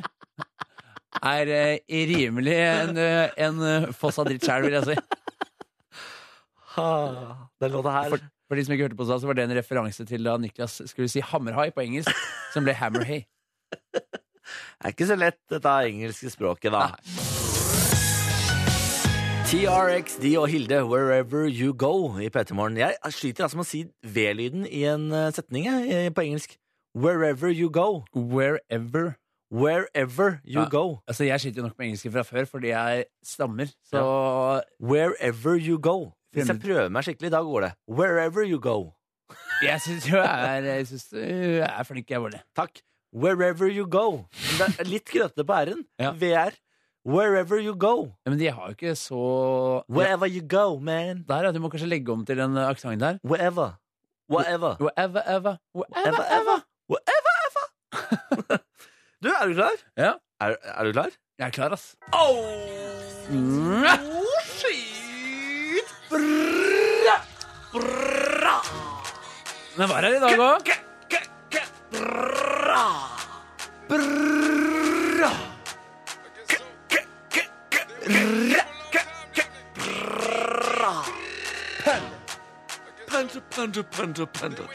C: er eh, rimelig en, eh, en eh, foss av dritt sjæl, vil jeg si.
B: Ha, Den låta her.
C: For, for de som ikke hørte på oss da, så var det en referanse til da Niklas skulle si hammerhai på engelsk, som ble hammerhay.
B: Det er ikke så lett, dette engelske språket, da. TRX, de og Hilde, wherever you go i P3 Morgen. Jeg sliter altså med å si V-lyden i en eh, setning jeg, eh, på engelsk. Wherever you go.
C: Wherever.
B: Wherever you
C: Ja.
B: go.
C: Altså, jeg sliter jo nok med engelsken fra før fordi jeg stammer, så
B: Wherever you go. Hvis jeg
C: Fremmed.
B: prøver meg skikkelig, da går det. Wherever you go.
C: jeg syns jo jeg er, jeg synes øh, jeg er flink, jeg, Bolle.
B: Takk. Wherever you go. Det er litt krøtete på r-en.
C: Ja.
B: VR. Wherever you go.
C: Ja, men de har jo ikke så
B: Wherever you go, man.
C: Der, ja. Du må kanskje legge om til den øh, aksenten der.
B: Wherever. Whatever.
C: Wherever, ever. Wherever,
B: Ever, ever. Wherever, ever. du, er du klar?
C: Ja.
B: Er, er du klar?
C: Jeg er klar, ass. Mm. Den var her i dag òg.
D: Panda, panda, panda, panda.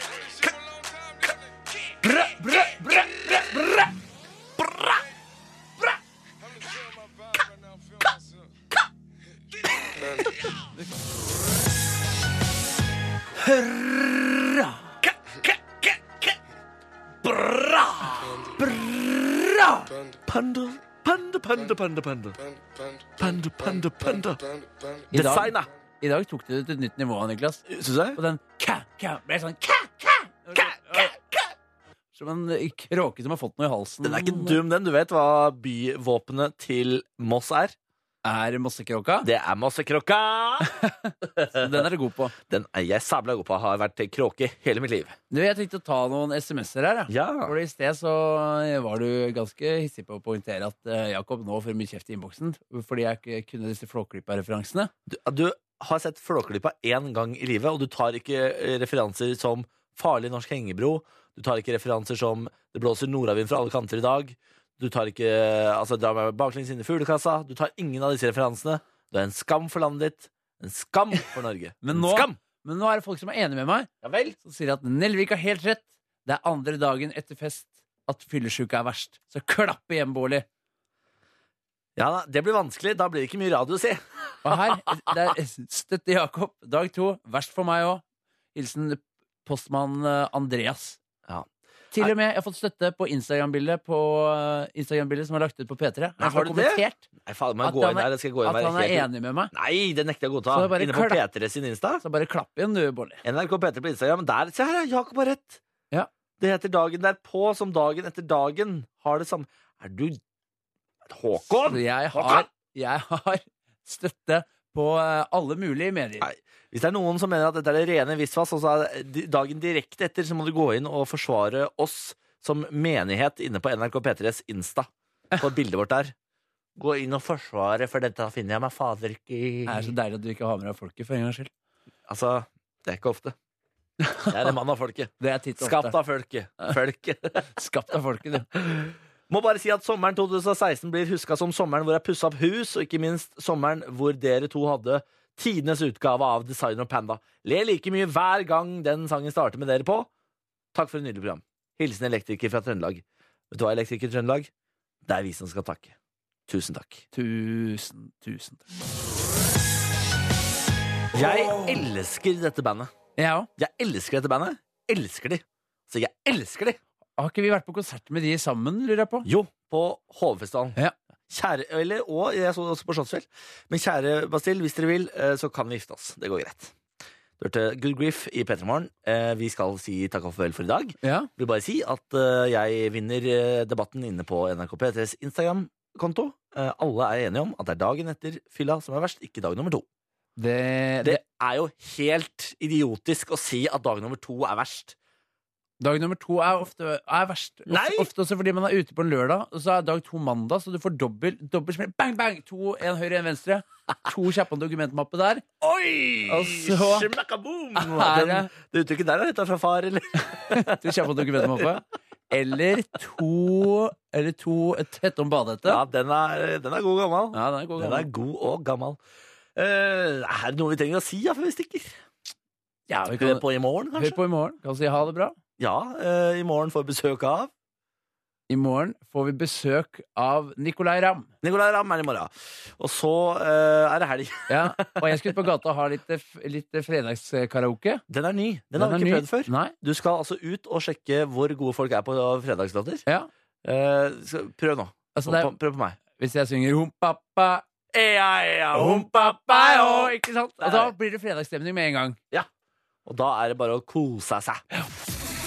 D: Panda, panda, panda, panda, panda. Panda, panda, panda.
C: I dag,
B: Designa.
C: I dag tok du det til et nytt nivå, Niklas.
B: Syns du
C: Og
B: det?
C: den ka-ka ble sånn ka-ka. Som en kråke som har fått noe i halsen.
B: Den er ikke dum, den. Du vet hva byvåpenet til Moss er?
C: er Mossekråka.
B: Det er mossekrokka!
C: Den er du god på.
B: Den er jeg sabla god på. Har vært kråke hele mitt liv.
C: Du, jeg tenkte å ta noen SMS-er her. Ja. For I sted så var du ganske hissig på å poengtere at eh, Jakob nå får mye kjeft i innboksen fordi jeg ikke kunne disse Flåklypa-referansene.
B: Du, du har sett Flåklypa én gang i livet, og du tar ikke eh, referanser som Farlig norsk hengebro. Du tar ikke referanser som Det blåser nordavind fra alle kanter i dag. Du tar ikke eh, altså, Dra meg baklengs inn i fuglekassa. Du tar ingen av disse referansene. Du er en skam for landet ditt. En skam for Norge. En
C: Men nå-
B: Skam!
C: Men nå er det folk som er enige med meg,
B: Ja vel.
C: som sier at Nelvik har helt rett. Det er andre dagen etter fest at fyllesyke er verst. Så klapp igjen, Bårli.
B: Ja, da, det blir vanskelig. Da blir det ikke mye radio å si.
C: Og her det er støtte Jakob. Dag to. Verst for meg òg. Hilsen postmann eh, Andreas.
B: Ja.
C: Til og med jeg har fått støtte på Instagram-bildet På eh, Instagram-bildet som er lagt ut på
B: Nei,
C: P3.
B: har du
C: har
B: det?
C: kommentert
B: Nei, faen, må jeg
C: At
B: gå
C: han
B: inn
C: er-
B: der? Skal jeg gå inn
C: at
B: der?
C: han er
B: Helt-
C: enig med meg.
B: Nei, det nekter jeg å godta.
C: Så det er bare
B: Inne på
C: klapp.
B: P3 sin Insta.
C: Så bare klapp igjen, du, Bolli.
B: NRK P3 på Instagram. Der, se her, ja, Jakob har rett.
C: Ja.
B: Det heter dagen derpå som dagen etter dagen har det samme Er du Håkon?
C: Så jeg har,
B: Håkon!
C: jeg har støtte på eh, alle mulige medier.
B: Nei. Hvis det er noen som mener at dette er det rene visvas, og så er det dagen direkte etter, så må du gå inn og forsvare oss som menighet inne på NRK P3s Insta. På bildet vårt der. Gå inn og forsvare, for dette finner jeg meg fader ikke i.
C: Det er så deilig at du ikke har med deg folket for en gangs skyld.
B: Altså, det er ikke ofte. Det er en mann av folket.
C: Det er titt og
B: Skapt
C: ofte.
B: av folket. Folket.
C: Skapt av folket, du.
B: Må bare si at sommeren 2016 blir huska som sommeren hvor jeg pussa opp hus, og ikke minst sommeren hvor dere to hadde tidenes utgave av Designer Panda. Le like mye hver gang den sangen starter med dere på. Takk for et nydelig program. Hilsen elektriker fra Trøndelag. Vet du hva, elektriker i Trøndelag? Det er vi som skal takke. Tusen takk.
C: Tusen, tusen takk.
B: Jeg elsker dette bandet.
C: Jeg òg.
B: Jeg elsker dette bandet. Elsker de. Så jeg elsker de.
C: Har ikke vi vært på konsert med de sammen, lurer jeg på?
B: Jo, på Hovefestivalen.
C: Ja.
B: Kjære, eller, og jeg så det også på Slottsfjell. Men kjære Bastille, hvis dere vil, eh, så kan vi gifte oss. Det går greit. Du hørte Good Griff i P3 Morgen. Eh, Vi skal si takk og farvel for i dag.
C: Ja.
B: Vil bare si at eh, jeg vinner eh, debatten inne på NRK P3s Instagram-konto. Eh, Alle er enige om at det er dagen etter fylla som er verst, ikke dag nummer to.
C: Det, det,
B: Det er jo helt idiotisk å si at dag nummer to er verst.
C: dag nummer to er ofte er verst. Ofte,
B: Nei!
C: ofte også fordi man er ute på en lørdag, og så er dag to mandag, så du får dobbel, dobbel smell. Bang, bang! To, en høyre, en venstre. To kjappe dokumentmappe der.
B: Oi!
C: Og så-
B: Smakkaboom!
C: Er det-
B: Den- Det uttrykket der er henta fra far, eller?
C: To kjappe dokumentmappe. Eller to Eller to tett om badehette.
B: Ja, den er, den er god og gammel.
C: Ja, den er god.
B: Den er
C: gammel.
B: god og gammel. Eh, er det noe vi trenger å si ja, før vi stikker?
C: Ja,
B: Skal
C: vi kan,
B: vi på i morgen,
C: hør
B: kanskje?
C: på i morgen. Kan si ha det bra.
B: Ja, eh, i morgen får vi besøk av
C: I morgen får vi besøk av Nicolay Ramm.
B: Nicolay Ramm er i morgen. Og så eh, er det helg.
C: Ja, og jeg skulle ut på gata og ha litt, eh, litt fredagskaraoke.
B: Den er ny. Den, har vi ikke
C: ny.
B: prøvd før.
C: Nei.
B: Du skal altså ut og sjekke hvor gode folk er på fredagslåter.
C: Ja.
B: Eh, skal- prøv nå.
C: Altså,
B: Prøv Sånn
C: det er,
B: på- prøv på meg.
C: hvis jeg synger humpappa,
B: Ea, ea, hum.
C: ikke sant? Og da blir det fredagsstemning med en gang.
B: Og da er det bare å kose seg.